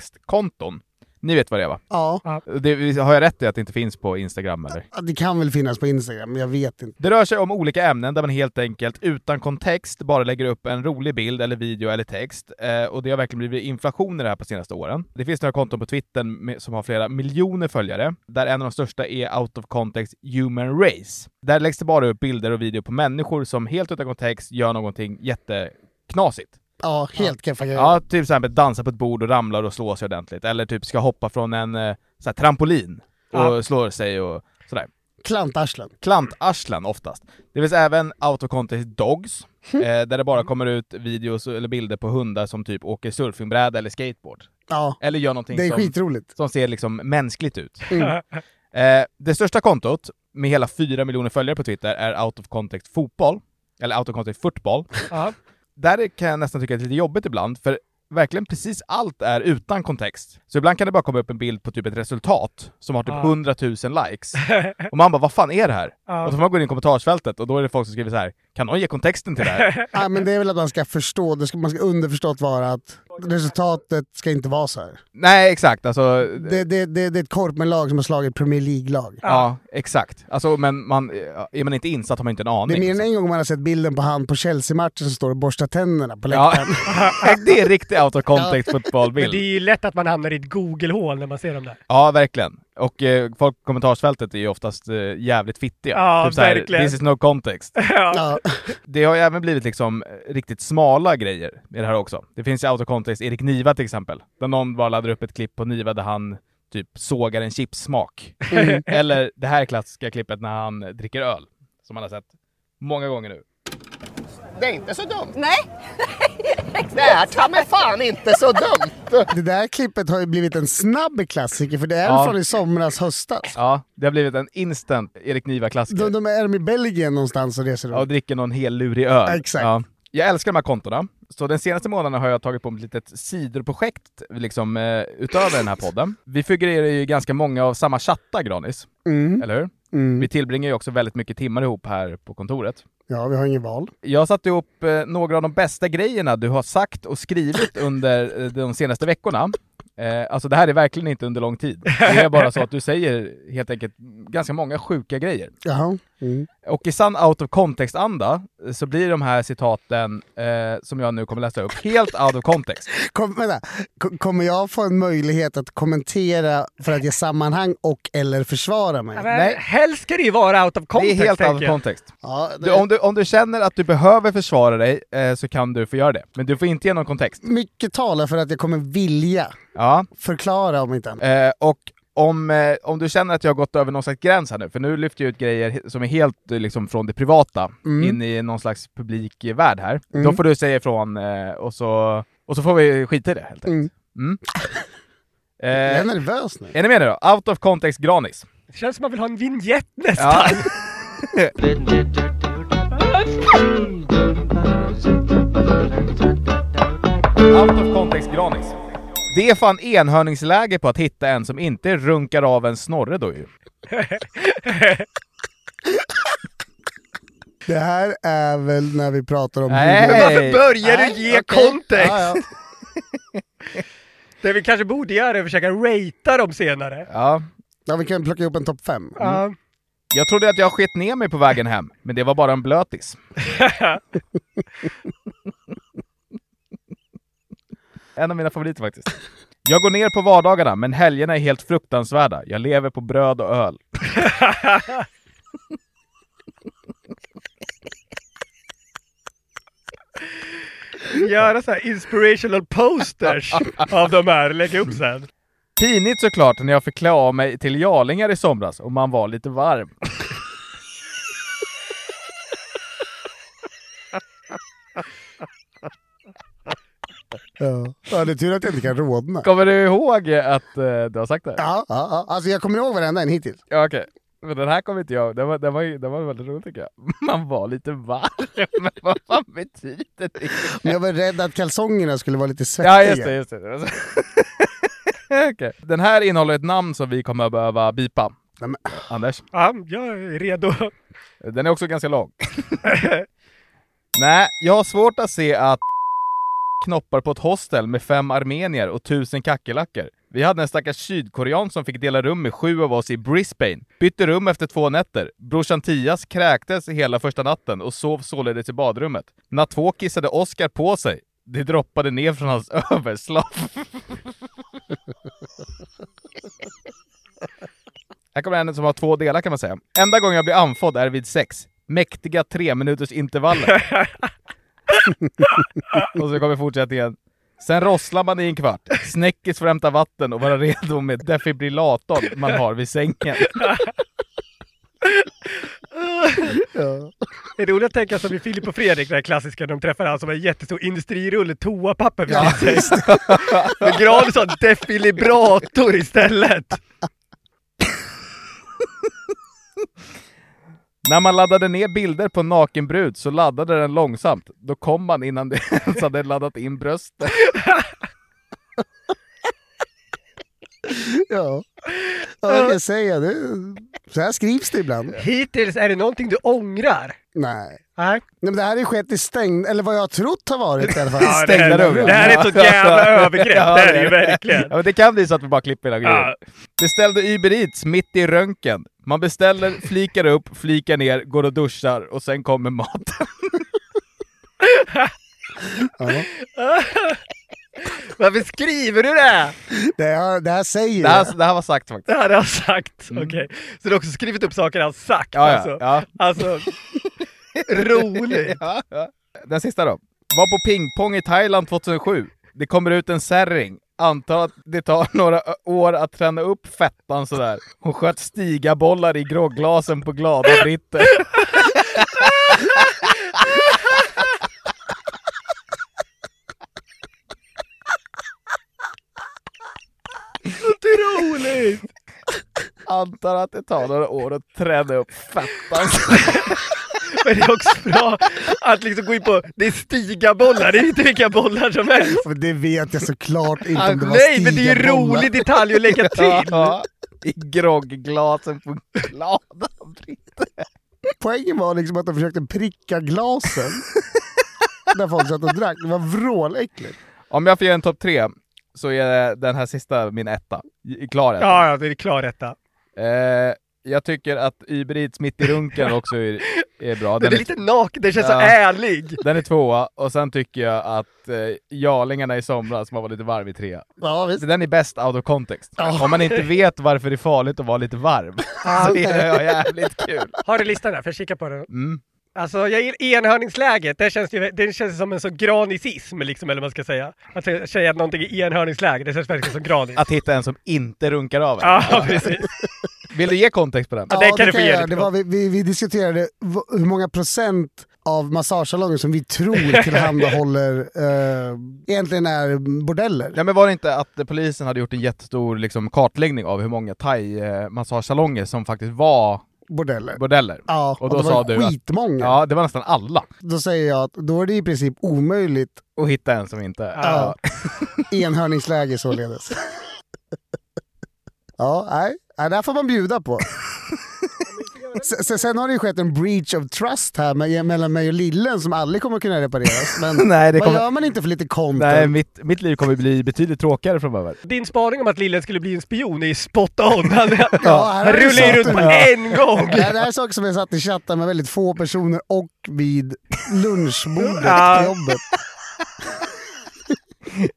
[SPEAKER 2] context-konton. Ni vet vad det är va?
[SPEAKER 4] Ja,
[SPEAKER 2] Det, har jag rätt i att det inte finns på Instagram eller?
[SPEAKER 4] det kan väl finnas på Instagram, men jag vet inte.
[SPEAKER 2] Det rör sig om olika ämnen där man helt enkelt utan kontext bara lägger upp en rolig bild eller video eller text. Eh, och det har verkligen blivit inflation i det här på senaste åren. Det finns några konton på Twitter med, som har flera miljoner följare, där en av de största är Out of Context Human Race. Där läggs det bara upp bilder och video på människor som helt utan kontext gör någonting jätteknasigt.
[SPEAKER 4] Ja, helt keffa grejer.
[SPEAKER 2] Ja, typ till exempel dansa på ett bord och ramlar och slår sig ordentligt. Eller typ ska hoppa från en eh, så här, trampolin och
[SPEAKER 3] Ja.
[SPEAKER 2] slår sig och sådär
[SPEAKER 4] Klantarslen.
[SPEAKER 2] klantarslen oftast. Det finns även out of context dogs, eh, där det bara kommer ut videos eller bilder på hundar som typ åker surfingbräda eller skateboard.
[SPEAKER 4] Ja,
[SPEAKER 2] Eller gör någonting
[SPEAKER 4] det är
[SPEAKER 2] som,
[SPEAKER 4] skitroligt. Mm.
[SPEAKER 2] som ser liksom mänskligt ut. Eh, det största kontot, med hela 4 miljoner följare på Twitter, är out of context fotboll. Eller out of context football.
[SPEAKER 3] Ja.
[SPEAKER 2] Där kan jag nästan tycka att det är lite jobbigt ibland, för verkligen precis allt är utan kontext. Så ibland kan det bara komma upp en bild på typ ett resultat som har typ
[SPEAKER 3] Ja.
[SPEAKER 2] 100 000 likes. Och man bara, vad fan är det här?
[SPEAKER 3] Ja.
[SPEAKER 2] Och så får man gå in i kommentarsfältet och då är det folk som skriver så här. kan någon ge kontexten till det här?
[SPEAKER 4] Nej, men det är väl att man ska förstå, det ska, man ska underförstått vara att resultatet ska inte vara så här.
[SPEAKER 2] Nej, exakt. Alltså,
[SPEAKER 4] Det, det, det, det är ett korpenlag som har slagit Premier League-lag.
[SPEAKER 2] Ja, exakt. Alltså, men man, är man inte insatt har man inte en
[SPEAKER 4] Det
[SPEAKER 2] aning.
[SPEAKER 4] är mer än en gång man har sett bilden på han på Chelsea-matchen som står och borstar tänderna på
[SPEAKER 2] Ja.
[SPEAKER 4] läktaren.
[SPEAKER 2] det är riktig out of context
[SPEAKER 3] Men det
[SPEAKER 2] fotbollbild.
[SPEAKER 3] är ju lätt att man hamnar i ett Google-hål när man ser dem där.
[SPEAKER 2] Ja, verkligen. Och eh, folk i kommentarsfältet är ju oftast eh, jävligt fittiga. Typ
[SPEAKER 3] Ja,
[SPEAKER 2] så här,
[SPEAKER 3] verkligen.
[SPEAKER 2] This is no context.
[SPEAKER 4] Ja.
[SPEAKER 2] Det har ju även blivit liksom eh, riktigt smala grejer i det här också. Det finns ju out of context Erik Niva till exempel. Där någon bara laddar upp ett klipp på Niva där han typ sågar en chipssmak. Eller det här klassiska klippet när han dricker öl. Som man har sett många gånger nu.
[SPEAKER 12] Det är inte så dumt. Nej. Det är ta mig fan inte så dumt.
[SPEAKER 4] Det där klippet har ju blivit en snabb klassiker för det är
[SPEAKER 2] Ja.
[SPEAKER 4] från i somras, höstas.
[SPEAKER 2] Ja, det har blivit en instant Erik Niva-klassiker.
[SPEAKER 4] De, de är i Belgien någonstans och reser
[SPEAKER 2] Ja, och
[SPEAKER 4] runt.
[SPEAKER 2] dricker någon hel lurig öl.
[SPEAKER 4] Exakt.
[SPEAKER 2] Ja. Jag älskar de här kontona. Så den senaste månaden har jag tagit på mig ett litet sidoprojekt liksom, eh, utöver den här podden. Vi figurerar ju i ganska många av samma chattar, Granis.
[SPEAKER 4] Mm.
[SPEAKER 2] Eller hur?
[SPEAKER 4] Mm.
[SPEAKER 2] Vi tillbringar ju också väldigt mycket timmar ihop här på kontoret.
[SPEAKER 4] Ja, vi har ingen val.
[SPEAKER 2] Jag satte ihop eh, några av de bästa grejerna du har sagt och skrivit under eh, de senaste veckorna. Eh, alltså det här är verkligen inte under lång tid. Det är bara så att du säger helt enkelt ganska många sjuka grejer.
[SPEAKER 4] Jaha. Mm.
[SPEAKER 2] Och i sann out of context-anda eh, så blir de här citaten eh, som jag nu kommer läsa upp helt out of context.
[SPEAKER 4] Kom, vänta. K- kommer jag få en möjlighet att kommentera för att ge sammanhang och eller försvara mig?
[SPEAKER 3] Nej. Helst ska det ju vara out of
[SPEAKER 2] Det är
[SPEAKER 3] context.
[SPEAKER 2] helt out
[SPEAKER 3] tänker
[SPEAKER 2] of
[SPEAKER 3] jag.
[SPEAKER 2] context.
[SPEAKER 4] Ja, det-
[SPEAKER 2] Du, om, du, om du känner att du behöver försvara dig eh, så kan du få göra det. Men du får inte ge någon kontext.
[SPEAKER 4] Mycket talar för att jag kommer vilja
[SPEAKER 2] Ja.
[SPEAKER 4] förklara om inte annat.
[SPEAKER 2] Eh, och om, eh, om du känner att jag har gått över någon slags gräns här nu, för nu lyfter jag ut grejer he- som är helt eh, liksom, från det privata
[SPEAKER 4] Mm.
[SPEAKER 2] in i någon slags publik eh, värld här.
[SPEAKER 4] Mm.
[SPEAKER 2] Då får du säga ifrån eh, och, så, och så får vi skita i det helt enkelt.
[SPEAKER 4] Mm.
[SPEAKER 2] Mm.
[SPEAKER 4] Jag är
[SPEAKER 2] Eh,
[SPEAKER 4] nervös nu.
[SPEAKER 2] är ni med nu då? Out of context Granis.
[SPEAKER 3] Det känns som man vill ha en vignett nästan.
[SPEAKER 2] Ja. Out of context Granis. Det är fan enhörningsläge på att hitta en som inte runkar av en snorre då ju.
[SPEAKER 4] Det här är väl när vi pratar om...
[SPEAKER 2] Nej.
[SPEAKER 4] hur-
[SPEAKER 3] Varför börjar du ge
[SPEAKER 4] okej.
[SPEAKER 3] kontext?
[SPEAKER 4] Ja, ja.
[SPEAKER 3] Det vi kanske borde göra är att försöka ratea dem senare.
[SPEAKER 2] Ja.
[SPEAKER 4] ja, vi kan plocka ihop en topp fem. Mm.
[SPEAKER 3] Ja.
[SPEAKER 2] Jag trodde att jag skett ner mig på vägen hem, men det var bara en blötis. en av mina favoriter faktiskt. Jag går ner på vardagarna, men helgerna är helt fruktansvärda. Jag lever på bröd och öl.
[SPEAKER 3] Göra så här inspirational posters av de här, lägga upp sen.
[SPEAKER 2] Pinigt såklart när jag fick klä av mig till jarlingar i somras och man var lite varm.
[SPEAKER 4] Ja. ja, det är tur att jag inte kan rodna.
[SPEAKER 2] Kommer du ihåg att eh, du har sagt det?
[SPEAKER 4] Ja, ja, ja. Alltså jag kommer ihåg varenda en hittills.
[SPEAKER 2] Ja, okej. Men den här kommer inte jag den var, den var, ju- den var väldigt rolig tycker jag. Man var lite varm. Men vad fan betyder det?
[SPEAKER 4] Men jag var rädd att kalsongerna skulle vara lite svettiga.
[SPEAKER 2] Ja, just det. Just det. Okej. Den här innehåller ett namn som vi kommer att behöva bipa.
[SPEAKER 4] Nej, men-
[SPEAKER 2] Anders,
[SPEAKER 3] Ja, jag är redo.
[SPEAKER 2] den är också ganska lång. Nej, jag har svårt att se att knoppar på ett hostel med fem armenier och tusen kackerlackor. Vi hade en stackars sydkorean som fick dela rum med sju av oss i Brisbane. Bytte rum efter två nätter. Brorsan Tias kräktes hela första natten och sov således i badrummet. Natt två kissade Oscar på sig. Det droppade ner från hans överslag. Här kommer en som har två delar kan man säga. Enda gången jag blir anfådd är vid sex. Mäktiga tre minuters intervaller. och så kommer fortsättningen. Sen rosslar man i en kvart. Snäckis får hämta vatten och vara redo med defibrillatorn man har vid sängen.
[SPEAKER 4] Ja.
[SPEAKER 3] Det är roligt att tänka som i Filip och Fredrik, den här klassiska, de träffar han som har en jättestor industrirulle toapapper
[SPEAKER 4] Ja,
[SPEAKER 3] vid sig. Men Granis har defilibrator istället.
[SPEAKER 2] När man laddade ner bilder på naken brud så laddade den långsamt. Då kom man innan det ens hade laddat in bröstet.
[SPEAKER 4] Ja. ja, jag kan säga det. Så här skrivs det ibland.
[SPEAKER 3] Hittills, är det någonting du ångrar?
[SPEAKER 4] Nej.
[SPEAKER 3] Nej.
[SPEAKER 4] men det här har ju skett i stängd, eller vad jag har trott har varit i alla fall.
[SPEAKER 2] det här- Stängda rum.
[SPEAKER 3] Det här är ett sånt jävla övergrepp,
[SPEAKER 2] Ja,
[SPEAKER 3] det är det ju verkligen.
[SPEAKER 2] Ja, men det kan bli så att vi bara klipper hela grejen.
[SPEAKER 3] Ja.
[SPEAKER 2] Beställde Uber Eats mitt i röntgen. Man beställer, flikar upp, flikar ner, går och duschar och sen kommer maten.
[SPEAKER 3] Varför skriver du det?
[SPEAKER 4] Det här, det här säger
[SPEAKER 2] Det här,
[SPEAKER 4] jag.
[SPEAKER 2] det här var sagt faktiskt.
[SPEAKER 3] Det här har han sagt, okej. Så du har också skrivit upp saker han sagt
[SPEAKER 2] Mm. Ja, ja,
[SPEAKER 3] alltså.
[SPEAKER 2] ja.
[SPEAKER 3] Alltså, roligt.
[SPEAKER 2] Ja, ja. Den sista då. Var på pingpong i Thailand 2007. Det kommer ut en särring. Antar att det tar några ö- år att träna upp fettan sådär. Hon sköt stigabollar i grogglasen på glada britter.
[SPEAKER 3] Otroligt!
[SPEAKER 2] Antar att det tar några år att träna upp fettan.
[SPEAKER 3] Men det är också bra att liksom gå in på, det är stigabollar, det är inte vilka bollar som helst.
[SPEAKER 4] Men Det vet jag såklart inte om det var
[SPEAKER 3] Nej, men det är ju en
[SPEAKER 4] stigabollar.
[SPEAKER 3] rolig detalj att lägga till.
[SPEAKER 2] Ja, I grogglasen på glada britter.
[SPEAKER 4] Poängen var liksom att de försökte pricka glasen. Där folk satt och drack. Det var vråläckligt.
[SPEAKER 2] Om jag får göra en topp tre så är den här sista min etta. I- Klar etta.
[SPEAKER 3] Ja, ja, det är klar detta.
[SPEAKER 2] Eh, jag tycker att Uber Eats mitt i runken också är, är bra.
[SPEAKER 3] Den
[SPEAKER 2] Den
[SPEAKER 3] är
[SPEAKER 2] är,
[SPEAKER 3] lite naken, den känns så
[SPEAKER 2] Ja.
[SPEAKER 3] ärlig.
[SPEAKER 2] den är tvåa, och sen tycker jag att eh, Jarlingarna i somras, man var lite varm i trea.
[SPEAKER 4] Ja, visst.
[SPEAKER 2] Den är bäst out of context. Om man inte vet varför det är farligt att vara lite varm, så är det jävligt kul.
[SPEAKER 3] Har du listan där? För jag kika på den.
[SPEAKER 2] Mm.
[SPEAKER 3] Alltså jag gillar enhörningsläget, det känns, ju, det känns som en sån granicism liksom, eller vad man ska säga. Att säga säga att någonting är enhörningsläge, det känns verkligen som granis.
[SPEAKER 2] Att hitta en som inte runkar av en.
[SPEAKER 3] Ja, precis.
[SPEAKER 2] Vill du ge kontext på den?
[SPEAKER 3] Ja, det kan du få
[SPEAKER 4] jag
[SPEAKER 3] ge
[SPEAKER 4] göra.
[SPEAKER 3] lite
[SPEAKER 4] det var, vi, vi, vi diskuterade v- hur många procent av massagesalonger som vi tror tillhandahåller eh, egentligen är bordeller.
[SPEAKER 2] Nej men var det inte att eh, polisen hade gjort en jättestor liksom, kartläggning av hur många thai-massagesalonger som faktiskt var
[SPEAKER 4] bordeller.
[SPEAKER 2] bordeller?
[SPEAKER 4] Ja,
[SPEAKER 2] Och då
[SPEAKER 4] det
[SPEAKER 2] sa
[SPEAKER 4] var
[SPEAKER 2] du att-
[SPEAKER 4] skitmånga.
[SPEAKER 2] Ja, det var nästan alla.
[SPEAKER 4] Då säger jag att då är det i princip omöjligt
[SPEAKER 2] Och hitta en som inte...
[SPEAKER 4] Ja. enhörningsläge således. ja, nej. nej, det här får man bjuda på. Sen, sen- sen har det ju skett en breach of trust här med, mellan mig och Lillen som aldrig kommer att kunna repareras. Men
[SPEAKER 2] Nej, det
[SPEAKER 4] vad
[SPEAKER 2] kommer-
[SPEAKER 4] gör man inte för lite content?
[SPEAKER 2] Nej, mitt, mitt liv kommer bli betydligt tråkigare framöver.
[SPEAKER 3] Din spaning om att Lillen skulle bli en spion är ju spot on. Han,
[SPEAKER 4] Ja, här
[SPEAKER 3] han
[SPEAKER 4] har du
[SPEAKER 3] rullar ju
[SPEAKER 4] satt
[SPEAKER 3] runt på
[SPEAKER 4] den.
[SPEAKER 3] en gång.
[SPEAKER 4] Det här, det här är saker som jag satt i chatten med väldigt få personer och vid lunchbordet
[SPEAKER 3] Ja.
[SPEAKER 4] på jobbet.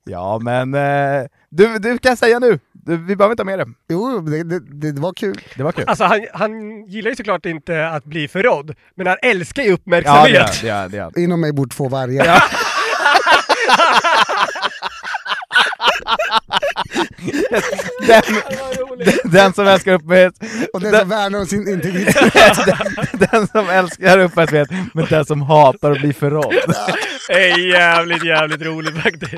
[SPEAKER 2] Ja, men... Eh, du, du kan säga nu! Du, vi behöver inte ha med det.
[SPEAKER 4] Jo, det, det, det var kul.
[SPEAKER 2] Det var kul.
[SPEAKER 3] Alltså han, han gillar ju såklart inte att bli förrådd, men han älskar ju
[SPEAKER 2] Ja,
[SPEAKER 3] uppmärksamhet.
[SPEAKER 2] det gör- det gör det gör.
[SPEAKER 4] Inom mig bor två vargar.
[SPEAKER 2] den, den som älskar uppmärksamhet,
[SPEAKER 4] Och den som värnar om sin integritet.
[SPEAKER 2] den som älskar uppmärksamhet, men den som hatar att bli förrådd.
[SPEAKER 3] Det är jävligt, jävligt roligt faktiskt.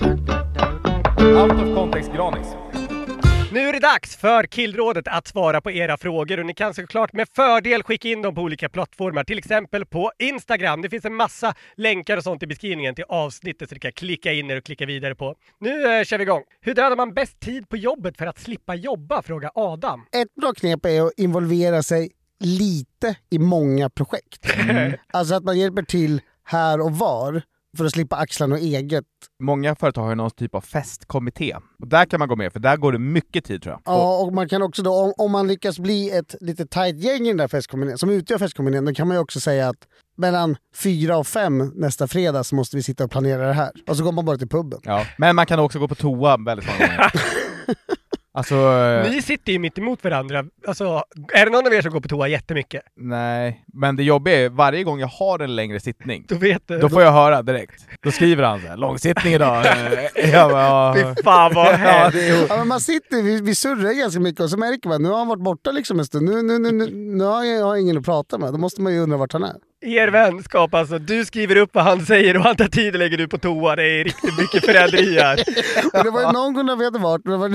[SPEAKER 2] Out of context granis.
[SPEAKER 3] Nu är det dags för Killrådet att svara på era frågor och ni kan såklart med fördel skicka in dem på olika plattformar, till exempel på Instagram. Det finns en massa länkar och sånt i beskrivningen till avsnittet så ni kan klicka in er och klicka vidare på. Nu eh, kör vi igång! Hur dödar man bäst tid på jobbet för att slippa jobba? Fråga Adam.
[SPEAKER 4] Ett bra knep är att involvera sig lite i många projekt. Alltså att man hjälper till här och var för att slippa axla något eget.
[SPEAKER 2] Många företag har ju någon typ av festkommitté. Och där kan man gå med, för där går det mycket tid tror jag.
[SPEAKER 4] Ja, och man kan också då, om, om man lyckas bli ett lite tight gäng i den där festkommunén, som utgör festkommunén, då kan man ju också säga att mellan fyra och fem nästa fredag så måste vi sitta och planera det här. Och så går man bara till puben.
[SPEAKER 2] Ja. Men man kan också gå på toa väldigt många gånger. Alltså, eh,
[SPEAKER 3] Ni sitter ju mitt emot varandra. Alltså, är det någon av er som går på toa jättemycket?
[SPEAKER 2] nej. Men det jobbiga är, varje gång jag har en längre sittning,
[SPEAKER 3] Då vet du.
[SPEAKER 2] då får jag höra direkt. Då skriver han såhär, långsittning idag. Eh, Jag bara, ja.
[SPEAKER 3] Fy fan vad
[SPEAKER 2] Ja,
[SPEAKER 3] hemskt!
[SPEAKER 2] det är...
[SPEAKER 4] Ja, men man sitter, vi, vi surrar ganska mycket och så märker man nu har han varit borta liksom en stund. Nu, nu, nu, nu, nu har jag har jag ingen att prata med. Då måste man ju undra vart han är.
[SPEAKER 3] er vänskap alltså. Du skriver upp vad han säger och han tar tid och lägger ut på toa. Det är riktigt mycket förräderi här.
[SPEAKER 4] Men det var ju någon gång när vi hade varit, det var,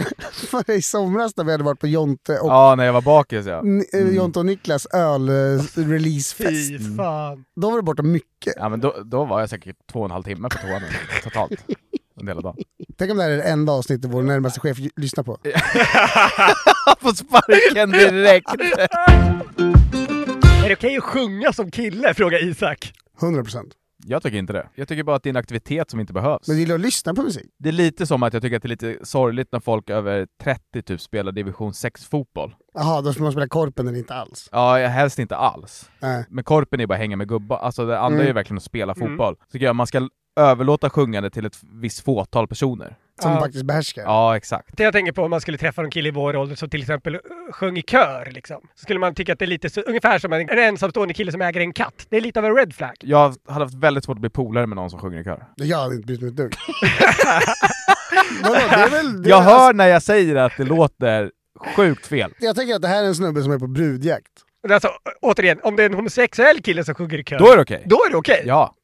[SPEAKER 4] var det i somras när vi hade varit på Jonte och,
[SPEAKER 2] Ja, Mm. när jag var bakis ja.
[SPEAKER 4] N- eh, Jonte och Niklas öl-releasefest.
[SPEAKER 3] Fy fan.
[SPEAKER 4] Då var det borta mycket.
[SPEAKER 2] Ja men då, då var jag säkert två och en halv timme på toan totalt. En del av dagen.
[SPEAKER 4] Tänk om det här är det enda avsnittet vår närmaste chef j- lyssnar på.
[SPEAKER 2] På sparken direkt!
[SPEAKER 3] Är det okej att sjunga som kille? Frågar Isak.
[SPEAKER 4] 100%.
[SPEAKER 2] Jag tycker inte det. Jag tycker bara att det är en aktivitet som inte behövs.
[SPEAKER 4] Men du gillar att lyssna på musik.
[SPEAKER 2] Det är lite som att jag tycker att det är lite sorgligt när folk över 30 typ spelar division 6 fotboll.
[SPEAKER 4] Jaha, då ska man spela Korpen eller inte alls.
[SPEAKER 2] Ja, jag- helst inte alls.
[SPEAKER 4] Nej.
[SPEAKER 2] Men korpen är bara hänga med gubbar. Alltså det andra
[SPEAKER 4] Mm.
[SPEAKER 2] är ju verkligen att spela
[SPEAKER 4] Mm.
[SPEAKER 2] fotboll. Så tycker jag man ska överlåta sjungande till ett visst fåtal personer.
[SPEAKER 4] Som faktiskt behärskar.
[SPEAKER 2] Ja, exakt.
[SPEAKER 3] Det jag tänker på om man skulle träffa någon kille i vår ålder som till exempel uh, sjöng i kör liksom. Så skulle man tycka att det är lite så, ungefär som en, en ensamstående kille som äger en katt. Det är lite av en red flag.
[SPEAKER 2] Jag hade haft väldigt svårt att bli polare med någon som sjunger i kör.
[SPEAKER 4] Jag hade inte brytt mig ett dugg. Vadå, det är väl, det
[SPEAKER 2] Jag
[SPEAKER 4] är, alltså-
[SPEAKER 2] hör när jag säger att det låter sjukt fel.
[SPEAKER 4] Jag tänker att det här är en snubbe som är på brudjakt.
[SPEAKER 3] Alltså å- återigen, om det är en homosexuell kille som sjunger i kör.
[SPEAKER 2] Då är det okej.
[SPEAKER 3] Då är det okej?
[SPEAKER 2] Ja.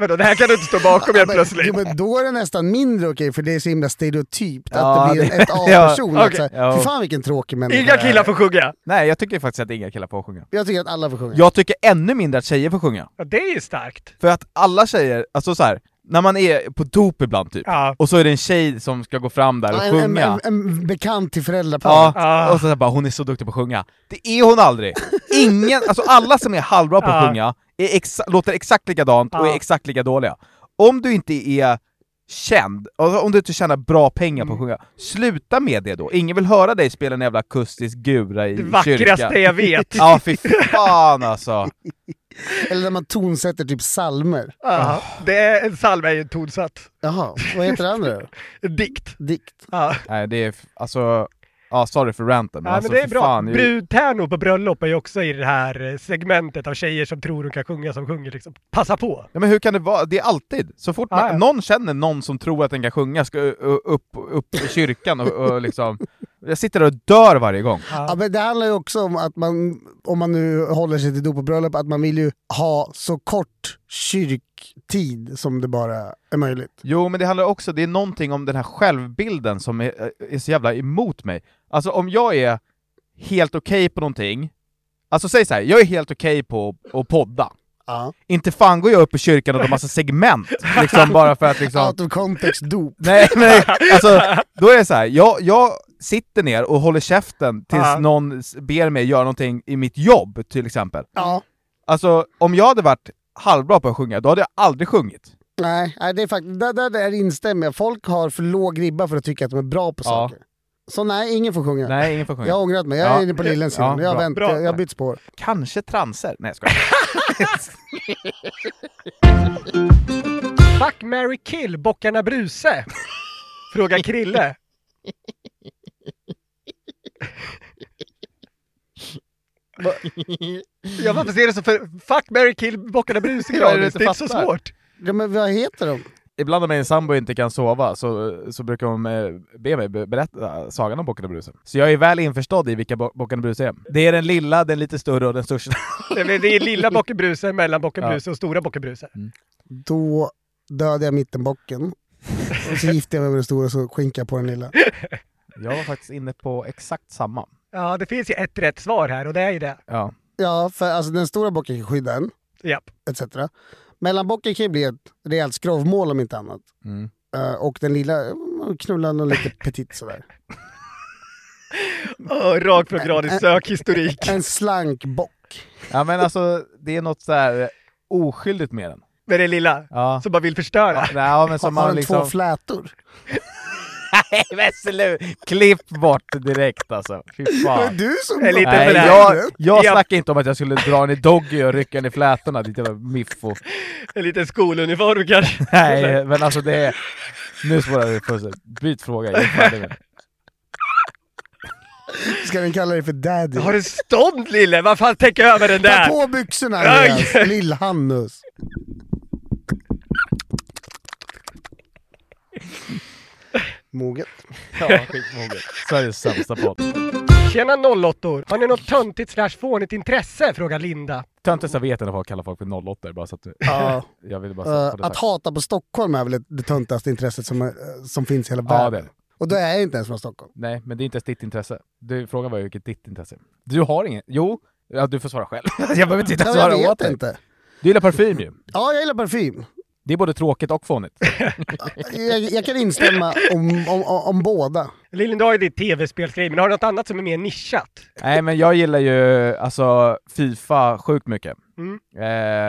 [SPEAKER 3] Vadå, det här kan du inte stå bakom helt
[SPEAKER 4] Men-
[SPEAKER 3] plötsligt.
[SPEAKER 4] Jo, men då är det nästan mindre okej, för det är så himla stereotypt
[SPEAKER 2] Ja,
[SPEAKER 4] att det blir
[SPEAKER 2] det-
[SPEAKER 4] ett A-person.
[SPEAKER 2] ja,
[SPEAKER 4] att så här,
[SPEAKER 2] okej, ja.
[SPEAKER 4] Fy fan vilken tråkig människa.
[SPEAKER 3] Inga
[SPEAKER 4] det är."
[SPEAKER 3] killar får sjunga.
[SPEAKER 2] Nej, jag tycker faktiskt att inga killar får sjunga.
[SPEAKER 4] Jag tycker att alla får sjunga.
[SPEAKER 2] Jag tycker ännu mindre att tjejer får sjunga.
[SPEAKER 3] Ja, det är ju starkt.
[SPEAKER 2] För att alla tjejer, alltså så här, när man är på dop ibland typ,
[SPEAKER 3] Ja.
[SPEAKER 2] och så är det en tjej som ska gå fram där och
[SPEAKER 4] Ja, en, en,
[SPEAKER 2] sjunga.
[SPEAKER 4] en, Ah. en bekant till
[SPEAKER 2] Ja,
[SPEAKER 4] föräldraparet.
[SPEAKER 3] Ah.
[SPEAKER 2] och så här bara, hon är så duktig på att sjunga. Det är hon aldrig! Ingen, alltså alla som är halvbra på att
[SPEAKER 3] Ja.
[SPEAKER 2] sjunga är exa- låter exakt likadant och
[SPEAKER 3] Ja.
[SPEAKER 2] är exakt lika dåliga. Om du inte är känd, alltså om du inte tjänar bra pengar på att
[SPEAKER 3] Mm.
[SPEAKER 2] sjunga, sluta med det då! Ingen vill höra dig spela en jävla akustisk gura i
[SPEAKER 3] Det vackraste
[SPEAKER 2] kyrkan.
[SPEAKER 3] jag vet.
[SPEAKER 2] Ja, fy fan alltså!
[SPEAKER 4] Eller när man tonsätter typ salmer.
[SPEAKER 3] Ja, det är, en psalm är ju tonsatt.
[SPEAKER 4] Jaha, vad heter det andra då?
[SPEAKER 3] Dikt.
[SPEAKER 4] Dikt.
[SPEAKER 3] Ja.
[SPEAKER 2] Nej, det är, f- alltså, ja sorry för ranten, men
[SPEAKER 3] Ja,
[SPEAKER 2] alltså
[SPEAKER 3] men det är
[SPEAKER 2] fy
[SPEAKER 3] bra.
[SPEAKER 2] fan, ju-
[SPEAKER 3] Brudtärnor på bröllop är ju också i det här eh, segmentet av tjejer som tror de kan sjunga som sjunger liksom. Passa på!
[SPEAKER 2] Ja, men hur kan det vara? Det är alltid, så fort man,
[SPEAKER 3] Ja, ja.
[SPEAKER 2] någon känner någon som tror att den kan sjunga ska ö- ö- upp, upp i kyrkan och, och liksom... Jag sitter där och dör varje gång.
[SPEAKER 4] Ja, men det handlar ju också om att man, om man nu håller sig till dop och bröllop, att man vill ju ha så kort kyrktid som det bara är möjligt.
[SPEAKER 2] Jo, men det handlar också, det är någonting om den här självbilden som är, är så jävla emot mig. Alltså om jag är helt okej på någonting, alltså säg så här, jag är helt okej på att podda.
[SPEAKER 4] Ja.
[SPEAKER 2] Inte fan går jag upp i kyrkan och har massa segment, liksom bara för att liksom...
[SPEAKER 4] Out of context dop.
[SPEAKER 2] Nej men alltså, då är det så här. Jag, jag sitter ner och håller käften tills
[SPEAKER 4] Ja.
[SPEAKER 2] någon s- ber mig göra någonting i mitt jobb till exempel.
[SPEAKER 4] Ja.
[SPEAKER 2] Alltså om jag hade varit halvbra på att sjunga, då hade jag aldrig sjungit.
[SPEAKER 4] Nej, nej det är fakt- där, där, där instämmer jag. Folk har för låg ribba för att tycka att de är bra på saker. Så nej, ingen får sjunga.
[SPEAKER 2] Nej, ingen får sjunga.
[SPEAKER 4] Jag har ångrat mig. Jag
[SPEAKER 2] Ja.
[SPEAKER 4] är inne på Lillens sida.
[SPEAKER 2] Ja,
[SPEAKER 4] jag har
[SPEAKER 2] bra.
[SPEAKER 4] vänt.
[SPEAKER 2] Bra.
[SPEAKER 4] Jag jag har bytt spår.
[SPEAKER 2] Kanske transer. Nej jag skojar.
[SPEAKER 3] Fuck, Mary kill, bockarna Bruse? Frågar Krille. Va- Ja, varför ser det så för... Fuck, Mary kill, bockarna Bruse
[SPEAKER 2] Vad är det du
[SPEAKER 3] Granis?
[SPEAKER 2] inte
[SPEAKER 3] Det är inte så
[SPEAKER 2] fattar?
[SPEAKER 3] svårt.
[SPEAKER 4] Ja, men vad heter de?
[SPEAKER 2] Ibland när min sambo inte kan sova så, så brukar hon eh, be mig be- berätta sagan om Bocken och brusen. Så jag är väl införstådd i vilka Bo- Bocken och brusen är. Det är den lilla, den lite större och den största.
[SPEAKER 3] Det är- Det är lilla bocken Bruse, mellan bocken Bruse och stora bocken Bruse.
[SPEAKER 2] Mm.
[SPEAKER 4] Då dödade jag mittenbocken. Och så gifte jag mig med den stora så skinkade jag på den lilla.
[SPEAKER 2] Jag var faktiskt inne på exakt samma.
[SPEAKER 3] Ja, det finns ju ett rätt svar här och det är ju det.
[SPEAKER 2] Ja.
[SPEAKER 4] Ja, för alltså den stora bocken kan skydda en,
[SPEAKER 3] Japp.
[SPEAKER 4] etc. Mellanbocken kan ju bli ett rejält skrovmål om inte annat.
[SPEAKER 2] Mm.
[SPEAKER 4] Eh, och den lilla eh, knullar någon lite petit sådär.
[SPEAKER 3] Oh, rakt från Granis sökhistorik.
[SPEAKER 4] En slank bock.
[SPEAKER 2] Ja men alltså, det är något så här oskyldigt med den.
[SPEAKER 3] Med det lilla.
[SPEAKER 2] Ja.
[SPEAKER 3] Som bara vill förstöra.
[SPEAKER 2] Ja, nej, men som
[SPEAKER 4] Har
[SPEAKER 2] man
[SPEAKER 4] den
[SPEAKER 2] liksom...
[SPEAKER 4] två flätor?
[SPEAKER 2] Nej men sluta! Klipp bort det direkt alltså. Fy
[SPEAKER 4] Men
[SPEAKER 2] fan.
[SPEAKER 4] du som...
[SPEAKER 3] En liten
[SPEAKER 2] Nej,
[SPEAKER 3] förrädare.
[SPEAKER 2] jag, jag
[SPEAKER 3] Ja.
[SPEAKER 2] snackar inte om att jag skulle dra en i Doggy och rycka en i flätorna, ditt jävla miffo.
[SPEAKER 3] En liten skoluniform kanske.
[SPEAKER 2] Nej, men alltså det är... Nu spårar vi pusslet. Byt fråga. jag är färdig med det.
[SPEAKER 4] Ska den kalla dig för daddy?
[SPEAKER 3] Har du stånd lille? Vad fan, täck över den
[SPEAKER 4] Ta
[SPEAKER 3] där!
[SPEAKER 4] på byxorna
[SPEAKER 3] Aj!
[SPEAKER 4] Andreas, lill-Hannus. Moget.
[SPEAKER 2] Ja, skitmoget. Sveriges sämsta podd.
[SPEAKER 3] Tjena 08 Har ni något töntigt slash fånigt intresse? Frågar Linda.
[SPEAKER 2] Töntigt jag vet i alla fall kallar folk för 08 bara så att du...
[SPEAKER 4] Ja.
[SPEAKER 2] Jag ville bara
[SPEAKER 4] Eh,
[SPEAKER 2] få det
[SPEAKER 4] att
[SPEAKER 2] sagt.
[SPEAKER 4] hata på Stockholm är väl ett- det töntigaste intresset som, eh, som finns i hela
[SPEAKER 2] Ja,
[SPEAKER 4] världen.
[SPEAKER 2] det är det.
[SPEAKER 4] Och då är jag inte ens från Stockholm.
[SPEAKER 2] Nej, men det är inte ens ditt intresse. Du, frågan var ju vilket ditt intresse är. Du har ingen? Jo, ja, du får svara själv. jag behöver inte
[SPEAKER 4] Ja,
[SPEAKER 2] ens
[SPEAKER 4] men jag
[SPEAKER 2] svara
[SPEAKER 4] vet
[SPEAKER 2] åt dig.
[SPEAKER 4] inte.
[SPEAKER 2] Du gillar parfym ju.
[SPEAKER 4] Ja, jag gillar parfym.
[SPEAKER 2] Det är både tråkigt och fånigt.
[SPEAKER 4] Jag, jag kan instämma om, om, om, om båda.
[SPEAKER 3] Lillen, du har ju ditt tv-spelsgrej, men har du något annat som är mer nischat?
[SPEAKER 2] Nej, men jag gillar ju alltså Fifa sjukt mycket.
[SPEAKER 3] Mm.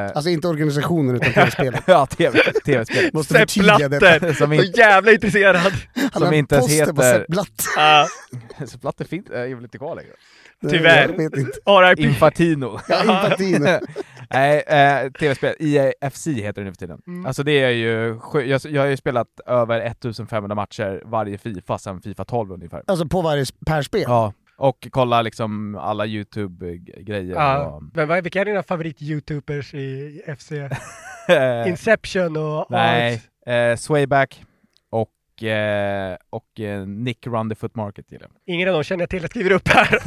[SPEAKER 2] Eh,
[SPEAKER 4] Alltså inte organisationen utan tv-spelet.
[SPEAKER 2] ja, TV, tv-spel.
[SPEAKER 4] Måste förtydliga detta.
[SPEAKER 2] Som, in,
[SPEAKER 3] jävla intresserad!
[SPEAKER 4] Han har
[SPEAKER 2] som
[SPEAKER 4] en
[SPEAKER 2] inte ens
[SPEAKER 4] poster på
[SPEAKER 2] heter...
[SPEAKER 4] Sepp Blatt.
[SPEAKER 2] Sepp Blatt är fint, är väl inte kvar längre?
[SPEAKER 3] Tyvärr.
[SPEAKER 4] Jag vet inte.
[SPEAKER 3] R.I.P.
[SPEAKER 2] Infantino.
[SPEAKER 4] Ja, Infantino.
[SPEAKER 2] Nej, eh, tv-spel. IFC heter det nu för tiden. Alltså det är ju... sju- Jag, jag har ju spelat över 1500 matcher varje Fifa sedan Fifa 12 ungefär.
[SPEAKER 4] Alltså på varje per spel.
[SPEAKER 2] Ja. Och kolla liksom alla YouTube-grejer.
[SPEAKER 3] Ja,
[SPEAKER 2] Och,
[SPEAKER 3] men vad, vilka är dina favorit-youtubers i FC?
[SPEAKER 2] eh,
[SPEAKER 3] Inception och
[SPEAKER 2] nej,
[SPEAKER 3] Art?
[SPEAKER 2] eh, Swayback och, eh, och eh, Nick Run the Foot Market gillar jag.
[SPEAKER 3] Ingen av dem känner jag till, jag skriver upp här.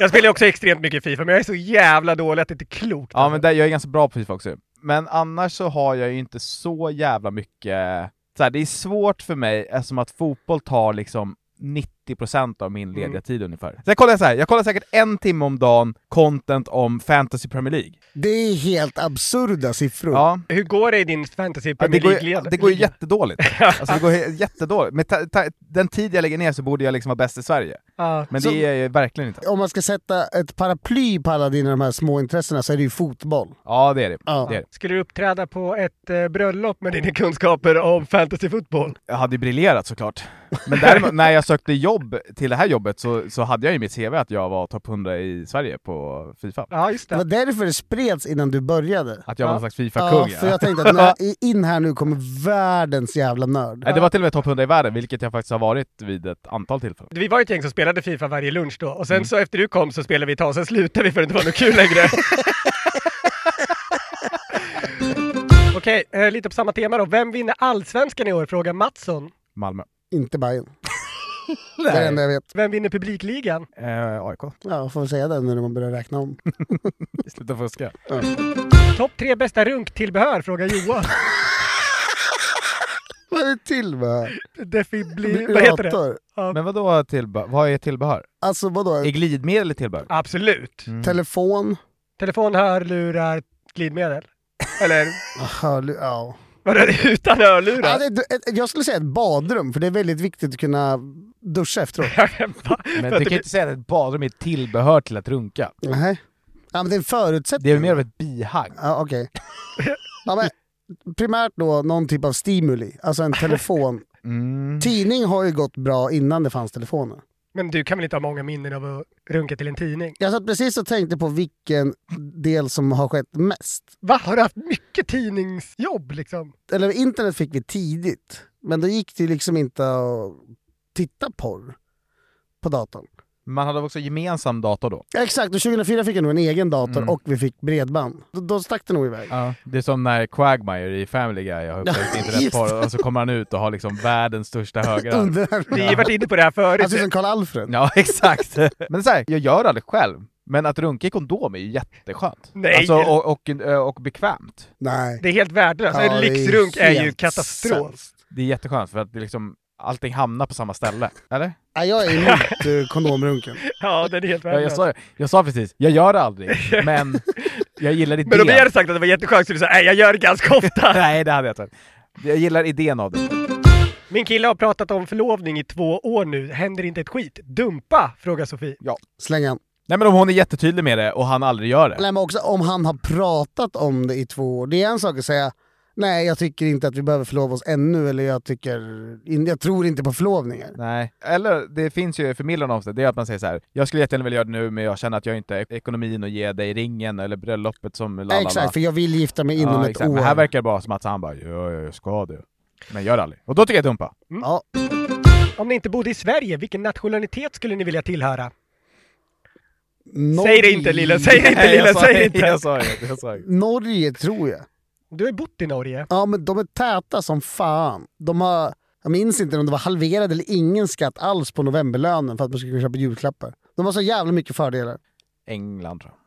[SPEAKER 3] jag spelar ju också extremt mycket Fifa, men jag är så jävla dålig att det inte är klokt.
[SPEAKER 2] Ja, men där, jag är ganska bra på Fifa också. Men annars så har jag ju inte så jävla mycket... Så här, det är svårt för mig eftersom att fotboll tar liksom 90% av min lediga
[SPEAKER 3] Mm.
[SPEAKER 2] tid ungefär. Sen kollar jag så här, jag kollar säkert en timme om dagen content om Fantasy Premier League.
[SPEAKER 4] Det är helt absurda siffror.
[SPEAKER 2] Ja.
[SPEAKER 3] Hur går det i din fantasy
[SPEAKER 2] Ja, det,
[SPEAKER 3] Premier
[SPEAKER 2] går ju,
[SPEAKER 3] League-liga?
[SPEAKER 2] det går ju jättedåligt. Alltså det går ju jättedåligt. Med ta, ta, den tid jag lägger ner så borde jag liksom vara bäst i Sverige.
[SPEAKER 3] Ja.
[SPEAKER 2] Men
[SPEAKER 4] Så-
[SPEAKER 2] det är jag ju verkligen inte.
[SPEAKER 4] Om man ska sätta ett paraply på alla dina de här små intressena så är det ju fotboll.
[SPEAKER 2] Ja, det är det.
[SPEAKER 4] Ja.
[SPEAKER 2] det, är det.
[SPEAKER 3] Skulle du uppträda på ett eh, bröllop med dina kunskaper om fantasyfotboll?
[SPEAKER 2] Jag hade ju briljerat såklart. Men däremot, när jag sökte jobb till det här jobbet så, så hade jag ju i mitt CV att jag var topp 100 i Sverige på Fifa.
[SPEAKER 3] Ja, just
[SPEAKER 4] Det
[SPEAKER 3] det.
[SPEAKER 4] var därför det spreds innan du började.
[SPEAKER 2] Att jag var
[SPEAKER 3] Ja.
[SPEAKER 2] någon slags
[SPEAKER 4] Ja,
[SPEAKER 2] Fifa-kung.
[SPEAKER 4] för jag tänkte att när, in här nu kommer världens jävla nörd.
[SPEAKER 2] Nej, det var till och med topp 100 i världen, vilket jag faktiskt har varit vid ett antal tillfällen.
[SPEAKER 3] Vi var ju ett gäng som spelade Fifa varje lunch då och sen
[SPEAKER 2] Mm.
[SPEAKER 3] så efter du kom så spelade vi ett tag, sen slutade vi för det inte var något kul längre. Okej, eh, lite på samma tema då. Vem vinner allsvenskan i år? Frågar Mattsson.
[SPEAKER 2] Malmö.
[SPEAKER 4] Inte Bajen. Det är det enda jag vet.
[SPEAKER 3] Vem vinner publikligan?
[SPEAKER 2] Eh, AIK.
[SPEAKER 4] Ja, får väl säga det nu när man börjar räkna om.
[SPEAKER 2] Sluta fuska.
[SPEAKER 3] Topp tre bästa runktillbehör? Frågar Johan.
[SPEAKER 4] Vad är det till med?
[SPEAKER 3] Defibli... Vad heter det?
[SPEAKER 4] Vibrator.
[SPEAKER 2] Men vadå tillbehör? Vad är tillbehör?
[SPEAKER 4] Alltså vadå?
[SPEAKER 2] Är glidmedel ett tillbehör?
[SPEAKER 3] Absolut.
[SPEAKER 4] Telefon?
[SPEAKER 3] Telefon, hörlurar, glidmedel. Eller
[SPEAKER 4] Hörlu- ja.
[SPEAKER 3] vadå, är det utan hörlurar?
[SPEAKER 4] Ja, det, ett- jag skulle säga ett badrum, för det är väldigt viktigt att kunna duscha efteråt.
[SPEAKER 2] Men du kan ju inte säga att ett badrum är ett tillbehör till att runka.
[SPEAKER 4] Nej. Ja, men det är en
[SPEAKER 2] Det är
[SPEAKER 4] förutsättning.
[SPEAKER 2] väl mer av ett bihang?
[SPEAKER 4] Ja, okej. Ja, men primärt då någon typ av stimuli, alltså en telefon.
[SPEAKER 2] Mm.
[SPEAKER 4] Tidning har ju gått bra innan det fanns telefoner.
[SPEAKER 3] Men du kan väl inte ha många minnen av att runka till en tidning?
[SPEAKER 4] Jag satt precis och tänkte på vilken del som har skett mest.
[SPEAKER 3] Va? Har du haft mycket tidningsjobb liksom?
[SPEAKER 4] Eller internet fick vi tidigt, men då gick det ju liksom inte att titta porr på datorn.
[SPEAKER 2] Man hade också gemensam dator då.
[SPEAKER 4] Ja, Exakt, och 2004 fick jag nog en egen dator
[SPEAKER 2] Mm.
[SPEAKER 4] och vi fick bredband. Då, då stack det nog iväg.
[SPEAKER 2] Det är som när Quagmire i Family Guy har upptäckt internetporr och så kommer han ut och har liksom världens största högra.
[SPEAKER 4] Under
[SPEAKER 3] Vi har ju varit inne på det här förut.
[SPEAKER 4] Han ser ut som Karl-Alfred.
[SPEAKER 2] Ja, exakt. Men så här, jag gör aldrig själv. Men att runka i kondom är ju jätteskönt.
[SPEAKER 3] Nej.
[SPEAKER 2] Alltså, och, och, och bekvämt.
[SPEAKER 4] Nej.
[SPEAKER 3] Det är helt värdelöst.
[SPEAKER 4] Ja,
[SPEAKER 3] en
[SPEAKER 4] det är
[SPEAKER 3] Alltså, lyxrunk är, ju
[SPEAKER 4] helt
[SPEAKER 3] katastrof.
[SPEAKER 4] sämst.
[SPEAKER 2] Det är jätteskönt för att det liksom, allting hamnar på samma ställe. Eller?
[SPEAKER 4] Nej, jag är emot eh, kondomrunken.
[SPEAKER 3] Ja, den är helt
[SPEAKER 2] Jag, jag,
[SPEAKER 3] värdelös.
[SPEAKER 2] sa, jag sa precis, jag gör det aldrig, men jag gillar
[SPEAKER 3] Men
[SPEAKER 2] idén.
[SPEAKER 3] om jag hade sagt att det var jätteskönt så skulle du säga nej, jag gör det ganska ofta.
[SPEAKER 2] Nej, det hade jag inte. Jag gillar idén av det.
[SPEAKER 3] Min kille har pratat om förlovning i två år nu. Händer inte ett skit. Dumpa? Frågar Sofie.
[SPEAKER 4] Släng han.
[SPEAKER 2] Nej men om hon är jättetydlig med det och han aldrig gör det.
[SPEAKER 4] Nej, men också om han har pratat om det i två år. Det är en sak att säga Nej, jag tycker inte att vi behöver förlova oss ännu, eller jag, tycker, in- jag tror inte på förlovningar.
[SPEAKER 2] Nej. Eller det finns ju förmildrande omständigheter, det är att man säger så här. jag skulle jättegärna vilja göra det nu men jag känner att jag inte har ekonomin att ge dig ringen eller bröllopet som lalala.
[SPEAKER 4] Exakt, för jag vill gifta mig inom
[SPEAKER 2] ja,
[SPEAKER 4] ett
[SPEAKER 2] exakt.
[SPEAKER 4] år.
[SPEAKER 2] Men här verkar det bara som att han bara, ja jag ska det. Men gör det aldrig. Och då tycker jag dumpa.
[SPEAKER 4] ja.
[SPEAKER 3] Om ni inte bodde i Sverige, vilken nationalitet skulle ni vilja tillhöra?
[SPEAKER 4] Norge,
[SPEAKER 3] Mm. Säg det inte Lille, säg det inte
[SPEAKER 2] Nej, jag
[SPEAKER 3] Lille,
[SPEAKER 2] sa
[SPEAKER 3] säg det
[SPEAKER 2] inget,
[SPEAKER 3] inte!
[SPEAKER 2] Jag sa inget, jag sa inget.
[SPEAKER 4] Norge tror jag.
[SPEAKER 3] Du har ju bott i Norge.
[SPEAKER 4] Ja, men de är täta som fan. De har Jag minns inte om det var halverad eller ingen skatt alls på novemberlönen för att man skulle kunna köpa julklappar. De har så jävla mycket fördelar.
[SPEAKER 2] England tror jag.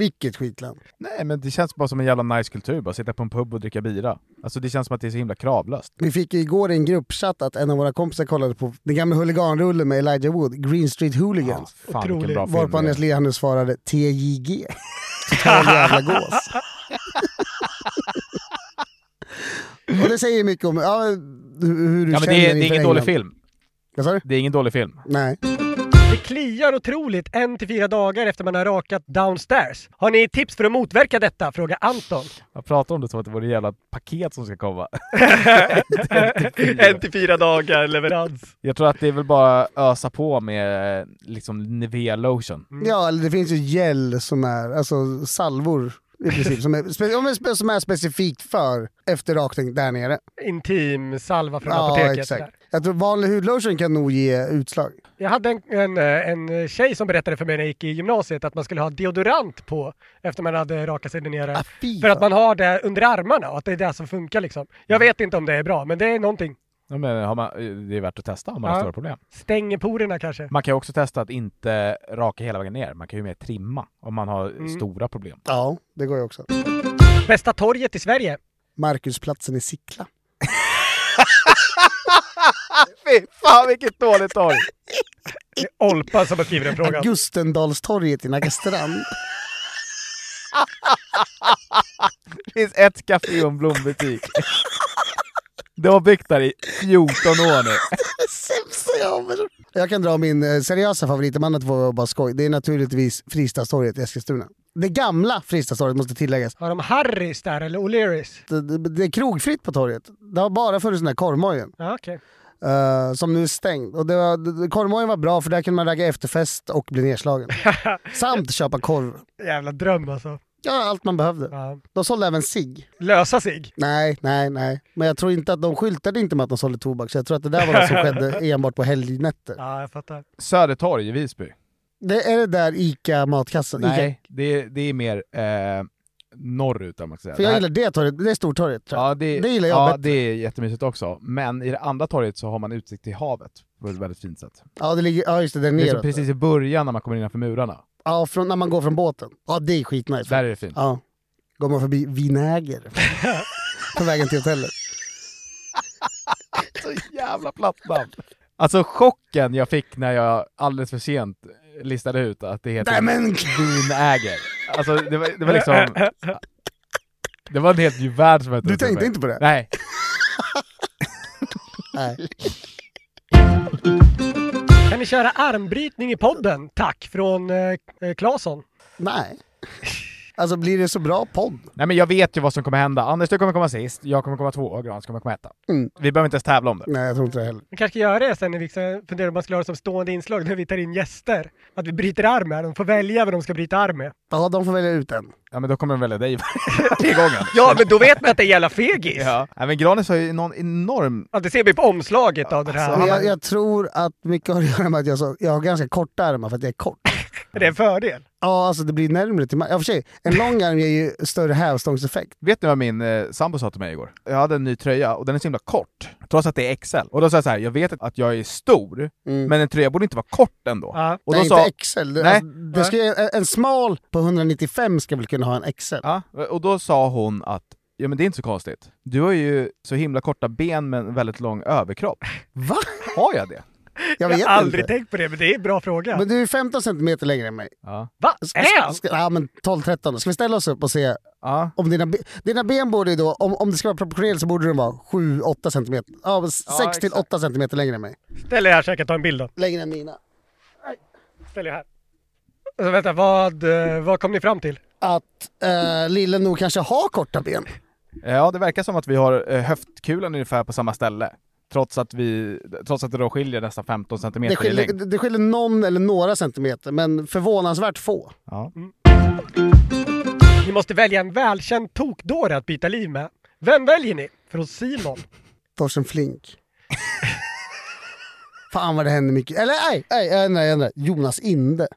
[SPEAKER 4] Vilket skitland.
[SPEAKER 2] Nej men det känns bara som en jävla nice kultur, bara sitta på en pub och dricka bira. Alltså det känns som att det är så himla kravlöst.
[SPEAKER 4] Vi fick ju igår i en gruppchatt att en av våra kompisar kollade på den gamla huliganrullen med Elijah Wood, Green Street Hooligans.
[SPEAKER 2] Ja, fan, vilken Otrolig. bra film
[SPEAKER 4] Varpå
[SPEAKER 2] det är.
[SPEAKER 4] Andreas Leander svarade TJG. Total jävla gås. Och det säger mycket om ja, hur, hur du
[SPEAKER 2] Ja men
[SPEAKER 4] känner
[SPEAKER 2] det är, det är
[SPEAKER 4] inför
[SPEAKER 2] ingen
[SPEAKER 4] England.
[SPEAKER 2] dålig film. Det är ingen dålig film.
[SPEAKER 4] Nej.
[SPEAKER 3] Det kliar otroligt en till fyra dagar efter man har rakat downstairs. Har ni tips för att motverka detta? Frågar Anton.
[SPEAKER 2] Jag pratar om det som att det vore ett jävla paket som ska komma.
[SPEAKER 3] en till fyra dagar leverans.
[SPEAKER 2] Jag tror att det är väl bara ösa på med eh, liksom Nivea lotion.
[SPEAKER 4] Ja, eller det finns ju gel som är, alltså salvor i princip, som är, spe- om det är spe- som är specifikt för efterrakning där nere.
[SPEAKER 3] Intim salva från
[SPEAKER 4] Ja,
[SPEAKER 3] apoteket.
[SPEAKER 4] exakt.
[SPEAKER 3] Där.
[SPEAKER 4] Jag tror vanlig hudlotion kan nog ge utslag.
[SPEAKER 3] Jag hade en, en, eh, en tjej som berättade för mig när jag gick i gymnasiet att man skulle ha deodorant på efter man hade rakat sig där
[SPEAKER 4] Ah,
[SPEAKER 3] nere. för att man har det under armarna och att det är det som funkar liksom. Jag vet inte om det är bra, men det är någonting.
[SPEAKER 2] Ja, men har man, det är värt att testa om man har
[SPEAKER 3] Ja.
[SPEAKER 2] stora problem.
[SPEAKER 3] Stänger porerna kanske.
[SPEAKER 2] Man kan ju också testa att inte raka hela vägen ner. Man kan ju mer trimma om man har
[SPEAKER 4] Mm.
[SPEAKER 2] stora problem.
[SPEAKER 4] Ja, det går ju också.
[SPEAKER 3] Bästa torget i Sverige?
[SPEAKER 4] Markusplatsen i Sickla.
[SPEAKER 2] Fy fan vilket dåligt torg!
[SPEAKER 3] Det är Olpa som har skrivit den frågan.
[SPEAKER 4] Augustendalstorget i Nackastrand.
[SPEAKER 2] Det finns ett café och en blombutik. Det har byggt där i 14 år nu.
[SPEAKER 4] Sämsta jag har. Jag kan dra min eh, seriösa favorit, de andra två var bara skoj. Det är naturligtvis Fristadstorget i Eskilstuna. Det gamla Fristadstorget måste tilläggas.
[SPEAKER 3] Har de Harrys där eller O'Learys?
[SPEAKER 4] Det, det, det är krogfritt på torget. Det har bara funnits den där korvmojen.
[SPEAKER 3] Ja, okej.
[SPEAKER 4] eh, som nu är stängd. Och det var, det- korvmojen var bra för där kunde man ragga efterfest och bli nedslagen. Samt köpa korv.
[SPEAKER 3] Jävla dröm alltså.
[SPEAKER 4] Ja, allt man behövde. De sålde även cigg.
[SPEAKER 3] Lösa sig.
[SPEAKER 4] Nej, nej, nej. Men jag tror inte att de skyltade inte med att de sålde tobak. Så jag tror att det där var något som skedde enbart på helgnätter.
[SPEAKER 3] Ja, jag fattar.
[SPEAKER 2] Södertorg i Visby.
[SPEAKER 4] Det är det där ICA-matkassan?
[SPEAKER 2] Nej, det, det är mer eh, norrut om man ska säga.
[SPEAKER 4] För jag
[SPEAKER 2] Det här-
[SPEAKER 4] gillar det torget, det är stortorget. tror jag.
[SPEAKER 2] Ja, det,
[SPEAKER 4] Typ. det gillar jag
[SPEAKER 2] ja,
[SPEAKER 4] bättre.
[SPEAKER 2] det är jättemysigt också. Men i det andra torget så har man utsikt till havet på ett väldigt fint sätt.
[SPEAKER 4] Ja, det ligger, ja just det, där
[SPEAKER 2] Det är
[SPEAKER 4] nere.
[SPEAKER 2] som precis i början när man kommer innanför murarna.
[SPEAKER 4] Ja, från, när man går från båten. Ja, det är skitnice.
[SPEAKER 2] Där är det fint.
[SPEAKER 4] Ja. Går man förbi vinäger på vägen till hotellet.
[SPEAKER 2] Jävla platt namn. Alltså chocken jag fick när jag alldeles för sent listade ut att det heter
[SPEAKER 4] Nej, men-
[SPEAKER 2] Vinäger. Alltså det var, det var liksom... Det var en helt ny värld som hette
[SPEAKER 4] Du
[SPEAKER 2] det för
[SPEAKER 4] tänkte
[SPEAKER 2] mig.
[SPEAKER 4] inte på det?
[SPEAKER 2] Nej.
[SPEAKER 4] Nej.
[SPEAKER 3] Kan ni köra armbrytning i podden? Tack från eh, eh, Claesson.
[SPEAKER 4] Nej. Alltså blir det så bra podd?
[SPEAKER 2] Nej men jag vet ju vad som kommer hända. Anders du kommer komma sist, jag kommer komma två och Grans kommer komma etta.
[SPEAKER 4] Mm.
[SPEAKER 2] Vi behöver inte ens tävla om det.
[SPEAKER 4] Nej, jag tror inte det heller.
[SPEAKER 3] Vi kanske ska göra det sen när vi ska- funderar om man skulle ha det som stående inslag när vi tar in gäster. Att vi bryter arm med. De får välja vad de ska bryta arm med.
[SPEAKER 4] Ja, de får välja ut en.
[SPEAKER 2] Ja men då kommer de välja dig varje gång. Anders.
[SPEAKER 3] Ja, men då vet man att det är jävla fegis.
[SPEAKER 2] Ja. Nej men Granis har ju någon enorm...
[SPEAKER 3] Ja, det ser vi på omslaget av den här.
[SPEAKER 4] Men Alltså, jag, jag tror att mycket har att göra med att jag, så, jag har ganska korta armar för att jag är kort.
[SPEAKER 3] Är det en fördel?
[SPEAKER 4] Ja, alltså det blir närmre till marken. Ja, för sig, en lång arm ger ju större hävstångseffekt.
[SPEAKER 2] Vet ni vad min eh, sambo sa till mig igår? Jag hade en ny tröja och den är så himla kort, trots att det är XL. Och då sa jag så här, jag vet att jag är stor, men en tröja borde inte vara kort ändå.
[SPEAKER 3] Ja.
[SPEAKER 2] Och
[SPEAKER 4] Mm. Nej,
[SPEAKER 2] då sa,
[SPEAKER 4] inte XL. Det,
[SPEAKER 2] Nej.
[SPEAKER 4] alltså, det ska, ju- en, en smal på 195 ska väl kunna ha en XL?
[SPEAKER 2] Ja, och då sa hon att Ja men det är inte så konstigt. Du har ju så himla korta ben men väldigt lång överkropp.
[SPEAKER 4] Va?
[SPEAKER 2] Har jag det?
[SPEAKER 4] Jag
[SPEAKER 3] Jag
[SPEAKER 4] vet
[SPEAKER 3] har aldrig
[SPEAKER 4] inte.
[SPEAKER 3] tänkt på det, men det är en bra fråga.
[SPEAKER 4] Men du är 15 centimeter längre än mig.
[SPEAKER 2] Ja.
[SPEAKER 3] Va?
[SPEAKER 4] Ska,
[SPEAKER 3] Är
[SPEAKER 4] ska,
[SPEAKER 3] han?
[SPEAKER 4] ska, ja men 12-13 då. Ska vi ställa oss upp och se
[SPEAKER 2] Ja.
[SPEAKER 4] om dina, be- dina ben borde ju då, om, om det ska vara proportionerligt så borde de vara 7-8 centimeter. Ja,
[SPEAKER 2] Ja,
[SPEAKER 4] 6 till 8 centimeter längre än mig.
[SPEAKER 3] Ställ er här så jag kan ta en bild då.
[SPEAKER 4] Längre än mina.
[SPEAKER 3] Ställ er här. Alltså, vänta, vad, eh, vad kom ni fram till?
[SPEAKER 4] Att eh, lillen nog kanske har korta ben.
[SPEAKER 2] Ja det verkar som att vi har eh, höftkulan ungefär på samma ställe. Trots att, vi, trots att det då skiljer nästan 15 centimeter
[SPEAKER 4] Det
[SPEAKER 2] i
[SPEAKER 4] skiljer,
[SPEAKER 2] längd.
[SPEAKER 4] det- det skiljer någon eller några centimeter, men förvånansvärt få.
[SPEAKER 2] Ja.
[SPEAKER 3] Ni måste välja en välkänd tokdåre att byta liv med. Vem väljer ni? Från Simon.
[SPEAKER 4] Torsten Flink. Fan vad det händer mycket. Eller nej, nej jag ändrar, jag ändrar. Jonas Inde.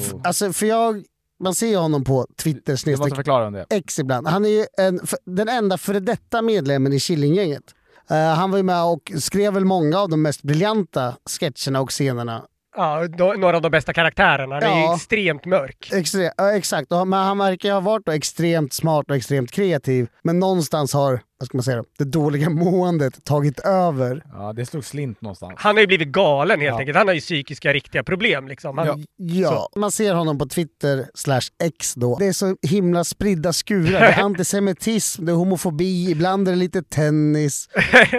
[SPEAKER 4] F- Alltså för jag, man ser ju honom på Twitter
[SPEAKER 2] Du Oh. måste
[SPEAKER 4] snedstreck
[SPEAKER 2] förklara om det.
[SPEAKER 4] X ibland. Han är ju en, f- den enda före detta medlemmen i Killinggänget. Eh, han var ju med och skrev väl många av de mest briljanta sketcherna och scenerna
[SPEAKER 3] Ja, då, några av de bästa karaktärerna. Han är
[SPEAKER 4] Ja.
[SPEAKER 3] ju extremt mörk.
[SPEAKER 4] Extre- ja, exakt, Och han- men han verkar ju ha varit då extremt smart och extremt kreativ. Men någonstans har, vad ska man säga, då, det dåliga måendet tagit över.
[SPEAKER 2] Ja, det slog slint någonstans.
[SPEAKER 3] Han har ju blivit galen helt
[SPEAKER 4] Ja.
[SPEAKER 3] enkelt. Han har ju psykiska riktiga problem liksom. Han,
[SPEAKER 4] Ja, man ser honom på Twitter slash X då. Det är så himla spridda skurar. Det är antisemitism, det är homofobi, ibland är det lite tennis,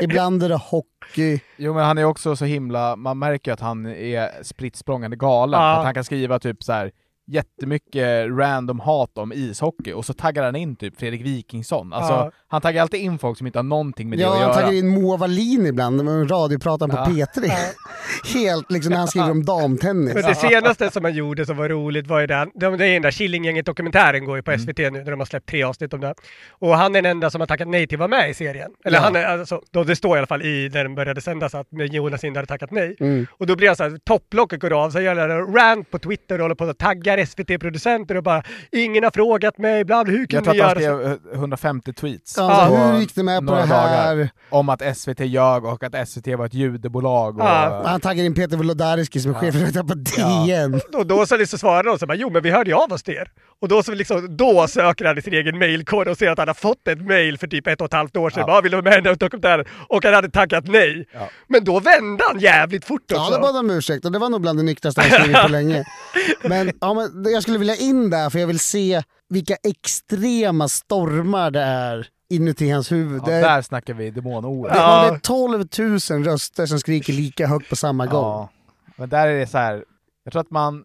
[SPEAKER 4] ibland är det hockey.
[SPEAKER 2] Jo men han är också så himla, man märker ju att han är spritt språngande galen.
[SPEAKER 4] Ja.
[SPEAKER 2] För Att han kan skriva typ så här jättemycket random hat om ishockey och så taggar han in typ Fredrik Wikingsson. Alltså,
[SPEAKER 4] Ja.
[SPEAKER 2] han taggar alltid in folk som inte har någonting med
[SPEAKER 4] Ja,
[SPEAKER 2] det
[SPEAKER 4] han
[SPEAKER 2] att
[SPEAKER 4] taggar
[SPEAKER 2] göra.
[SPEAKER 4] in Moa Wallin ibland, med radiopratan på
[SPEAKER 2] Ja.
[SPEAKER 4] P3. Helt liksom när han skriver om damtennis.
[SPEAKER 3] Men det senaste som han gjorde som var roligt var ju den, de- det är den där Killinggänget-dokumentären går ju på
[SPEAKER 2] Mm.
[SPEAKER 3] SVT nu när de har släppt tre avsnitt om det. Och han är den enda som har tackat nej till att vara med i serien. Eller
[SPEAKER 13] Ja.
[SPEAKER 3] han är, alltså, då, det står i alla fall i när den började sändas att Jonas Hind hade tackat nej.
[SPEAKER 13] Mm.
[SPEAKER 3] Och då blir han så här, topplocket går av, så gör han en rant på Twitter och håller på och taggar SVT-producenter och bara ingen har frågat mig, ibland hur
[SPEAKER 2] Jag
[SPEAKER 3] kunde
[SPEAKER 2] tror
[SPEAKER 3] ni
[SPEAKER 2] att han
[SPEAKER 3] göra så?
[SPEAKER 2] skrev eh, 150 tweets.
[SPEAKER 3] Ja, alltså,
[SPEAKER 2] på
[SPEAKER 3] hur gick ni med på
[SPEAKER 2] några
[SPEAKER 3] det här?
[SPEAKER 2] dagar Om att SVT ljög och att SVT var ett judebolag. Och,
[SPEAKER 4] Och Han taggar in Peter Wolodarski som är chefredaktör på DN.
[SPEAKER 3] Och då så liksom svarade de så här, jo men vi hörde ju av oss till er. Och då, så liksom, då söker han i sin egen mailkorg och ser att han har fått ett mail för typ ett och ett halvt år sedan.
[SPEAKER 4] Ja.
[SPEAKER 3] Bara, vill du vara med i den här dokumentären? Och han hade tackat nej. Men då vände han jävligt fort också.
[SPEAKER 4] Ja, det bad om ursäkt och det var nog bland det nyktraste han skrivit på länge. Men, ja, men det- jag skulle vilja in där för jag vill se vilka extrema stormar det är inuti hans huvud.
[SPEAKER 2] ja,
[SPEAKER 4] det, är,
[SPEAKER 2] där snackar vi demonord.
[SPEAKER 4] det, ja. det är 12 000 röster som skriker lika högt på samma gång.
[SPEAKER 2] Ja. Men där är det så här. jag tror att man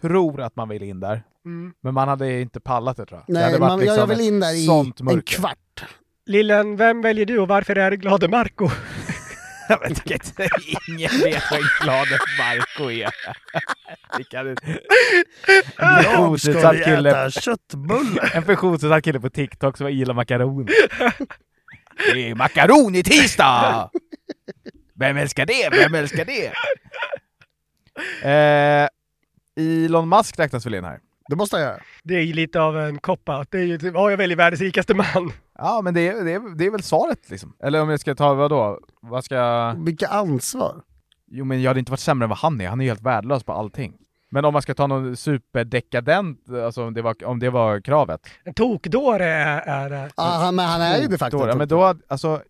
[SPEAKER 2] tror att man vill in där,
[SPEAKER 3] Mm.
[SPEAKER 2] men man hade inte pallat det tror jag. det
[SPEAKER 4] Nej,
[SPEAKER 2] hade varit
[SPEAKER 4] man, jag- jag
[SPEAKER 2] liksom
[SPEAKER 4] vill in
[SPEAKER 2] ett
[SPEAKER 4] där i
[SPEAKER 2] sånt
[SPEAKER 4] en
[SPEAKER 2] mörker.
[SPEAKER 4] kvart.
[SPEAKER 3] Lillen, vem väljer du och varför är du glade Marco?
[SPEAKER 2] Jag vet inte, ingen vet vad glad Marco är. Det kan inte- En funktionsnedsatt kille- En funktionsnedsatt kille på TikTok som gillar makaroner. Det är makaron i tisdag! Vem älskar det? Vem älskar det? Eh, Elon Musk räknas väl in här?
[SPEAKER 4] Det måste jag göra.
[SPEAKER 3] Det är ju lite av en cop-out. Det är ju typ, ja jag väljer världens rikaste man.
[SPEAKER 2] Ja, men det är, det, är, det är väl svaret liksom. Eller om jag ska ta vad då? Vad ska...
[SPEAKER 4] Vilka ansvar?
[SPEAKER 2] Jo, men jag hade inte varit sämre än vad han är. Han är helt värdelös på allting. Men om man ska ta någon superdekadent, alltså om det var, om det var kravet.
[SPEAKER 3] En tokdåre är, är eh, det.
[SPEAKER 2] Då, ja, Mm. men då, alltså,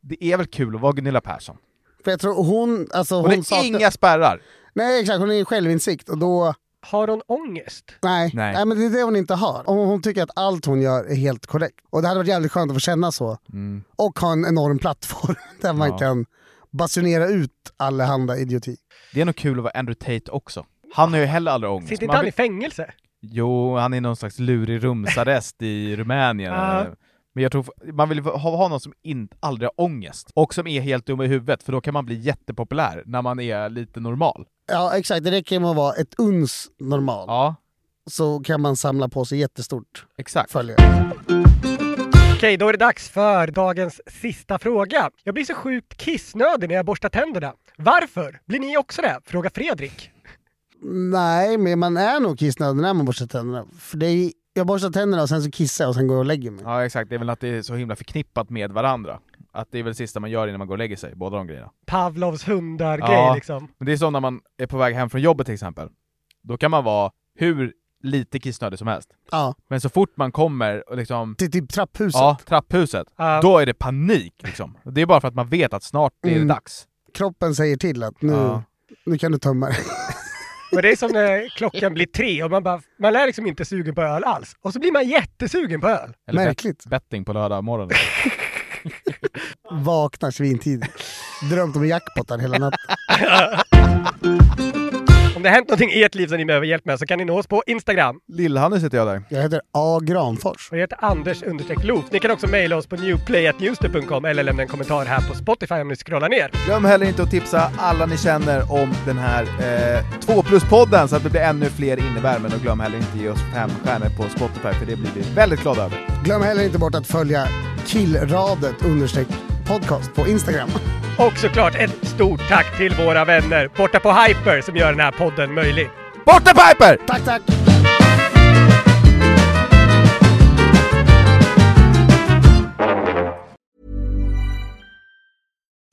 [SPEAKER 2] det är väl kul att vara Gunilla Persson?
[SPEAKER 4] För jag tror hon... Alltså,
[SPEAKER 2] Hon
[SPEAKER 4] hon,
[SPEAKER 2] är inga spärrar.
[SPEAKER 4] Nej, exakt. Hon är i självinsikt och då...
[SPEAKER 3] Har hon ångest?
[SPEAKER 4] Nej.
[SPEAKER 2] Nej.
[SPEAKER 4] Nej. men det är det hon inte har. Om hon tycker att allt hon gör är helt korrekt. Och det hade varit jävligt skönt att få känna så. Och ha en enorm plattform där man
[SPEAKER 2] Mm. Ja.
[SPEAKER 4] kan basunera ut allehanda idioti.
[SPEAKER 2] Det är nog kul att vara Andrew Tate också. Han har ju heller aldrig ångest.
[SPEAKER 3] Sitter
[SPEAKER 2] Man
[SPEAKER 3] inte han
[SPEAKER 2] vill-
[SPEAKER 3] i fängelse?
[SPEAKER 2] Jo, han är någon slags lurig rumsarrest i Rumänien.
[SPEAKER 3] Ja.
[SPEAKER 2] Men jag tror man vill ha, ha någon som inte aldrig har ångest och som är helt dum i huvudet för då kan man bli jättepopulär när man är lite normal.
[SPEAKER 4] Ja, exakt. Det räcker med att vara ett uns normal.
[SPEAKER 2] Ja.
[SPEAKER 4] Så kan man samla på sig jättestort
[SPEAKER 2] exakt.
[SPEAKER 4] följare.
[SPEAKER 3] Okej, då är det dags för dagens sista fråga. Jag blir så sjukt kissnödig när jag borstar tänderna. Varför? Blir ni också det? Fråga Fredrik.
[SPEAKER 4] Nej, men man är nog kissnödig när man borstar tänderna. För det är, jag borstar tänderna och sen så kissar jag och sen går jag och lägger mig.
[SPEAKER 2] Ja, exakt. Det är väl att det är så himla förknippat med varandra. Att det är väl det sista man gör innan man går och lägger sig, båda de grejerna.
[SPEAKER 3] Pavlovs hundar-grej liksom.
[SPEAKER 2] men det är som när man är på väg hem från jobbet till exempel. Då kan man vara hur lite kissnödig som helst.
[SPEAKER 4] Ja.
[SPEAKER 2] Men så fort man kommer och liksom...
[SPEAKER 4] Till typ trapphuset.
[SPEAKER 2] Ja, trapphuset.
[SPEAKER 4] Ja.
[SPEAKER 2] Då är det panik liksom. Det är bara för att man vet att snart är det
[SPEAKER 4] Mm.
[SPEAKER 2] dags.
[SPEAKER 4] Kroppen säger till att nu,
[SPEAKER 2] Ja.
[SPEAKER 4] nu kan du tömma dig.
[SPEAKER 3] Och det är som när klockan blir tre och man bara, man är liksom inte sugen på öl alls. Och så blir man jättesugen på öl.
[SPEAKER 2] Eller Bet- betting på lördag morgon.
[SPEAKER 4] Vaknar svintidigt. Drömt om jackpottar hela natten.
[SPEAKER 3] Om det har hänt någonting i ert liv som ni behöver hjälp med så kan ni nå oss på Instagram.
[SPEAKER 2] Lill-Hannes heter jag där.
[SPEAKER 4] Jag heter A. Granfors.
[SPEAKER 3] Och jag heter Anders understreck Loof. Ni kan också mejla oss på newplay.newster.com eller lämna en kommentar här på Spotify om ni scrollar ner.
[SPEAKER 2] Glöm heller inte att tipsa alla ni känner om den här eh, 2 plus-podden så att det blir ännu fler inne i värmen och glöm heller inte ge oss fem stjärnor på Spotify för det blir vi väldigt glada över.
[SPEAKER 4] Glöm heller inte bort att följa killradet understreck podcast på Instagram.
[SPEAKER 3] Och såklart ett stort tack till våra vänner borta på Hyper som gör den här podden möjlig.
[SPEAKER 2] Borta Piper!
[SPEAKER 4] Tack, tack!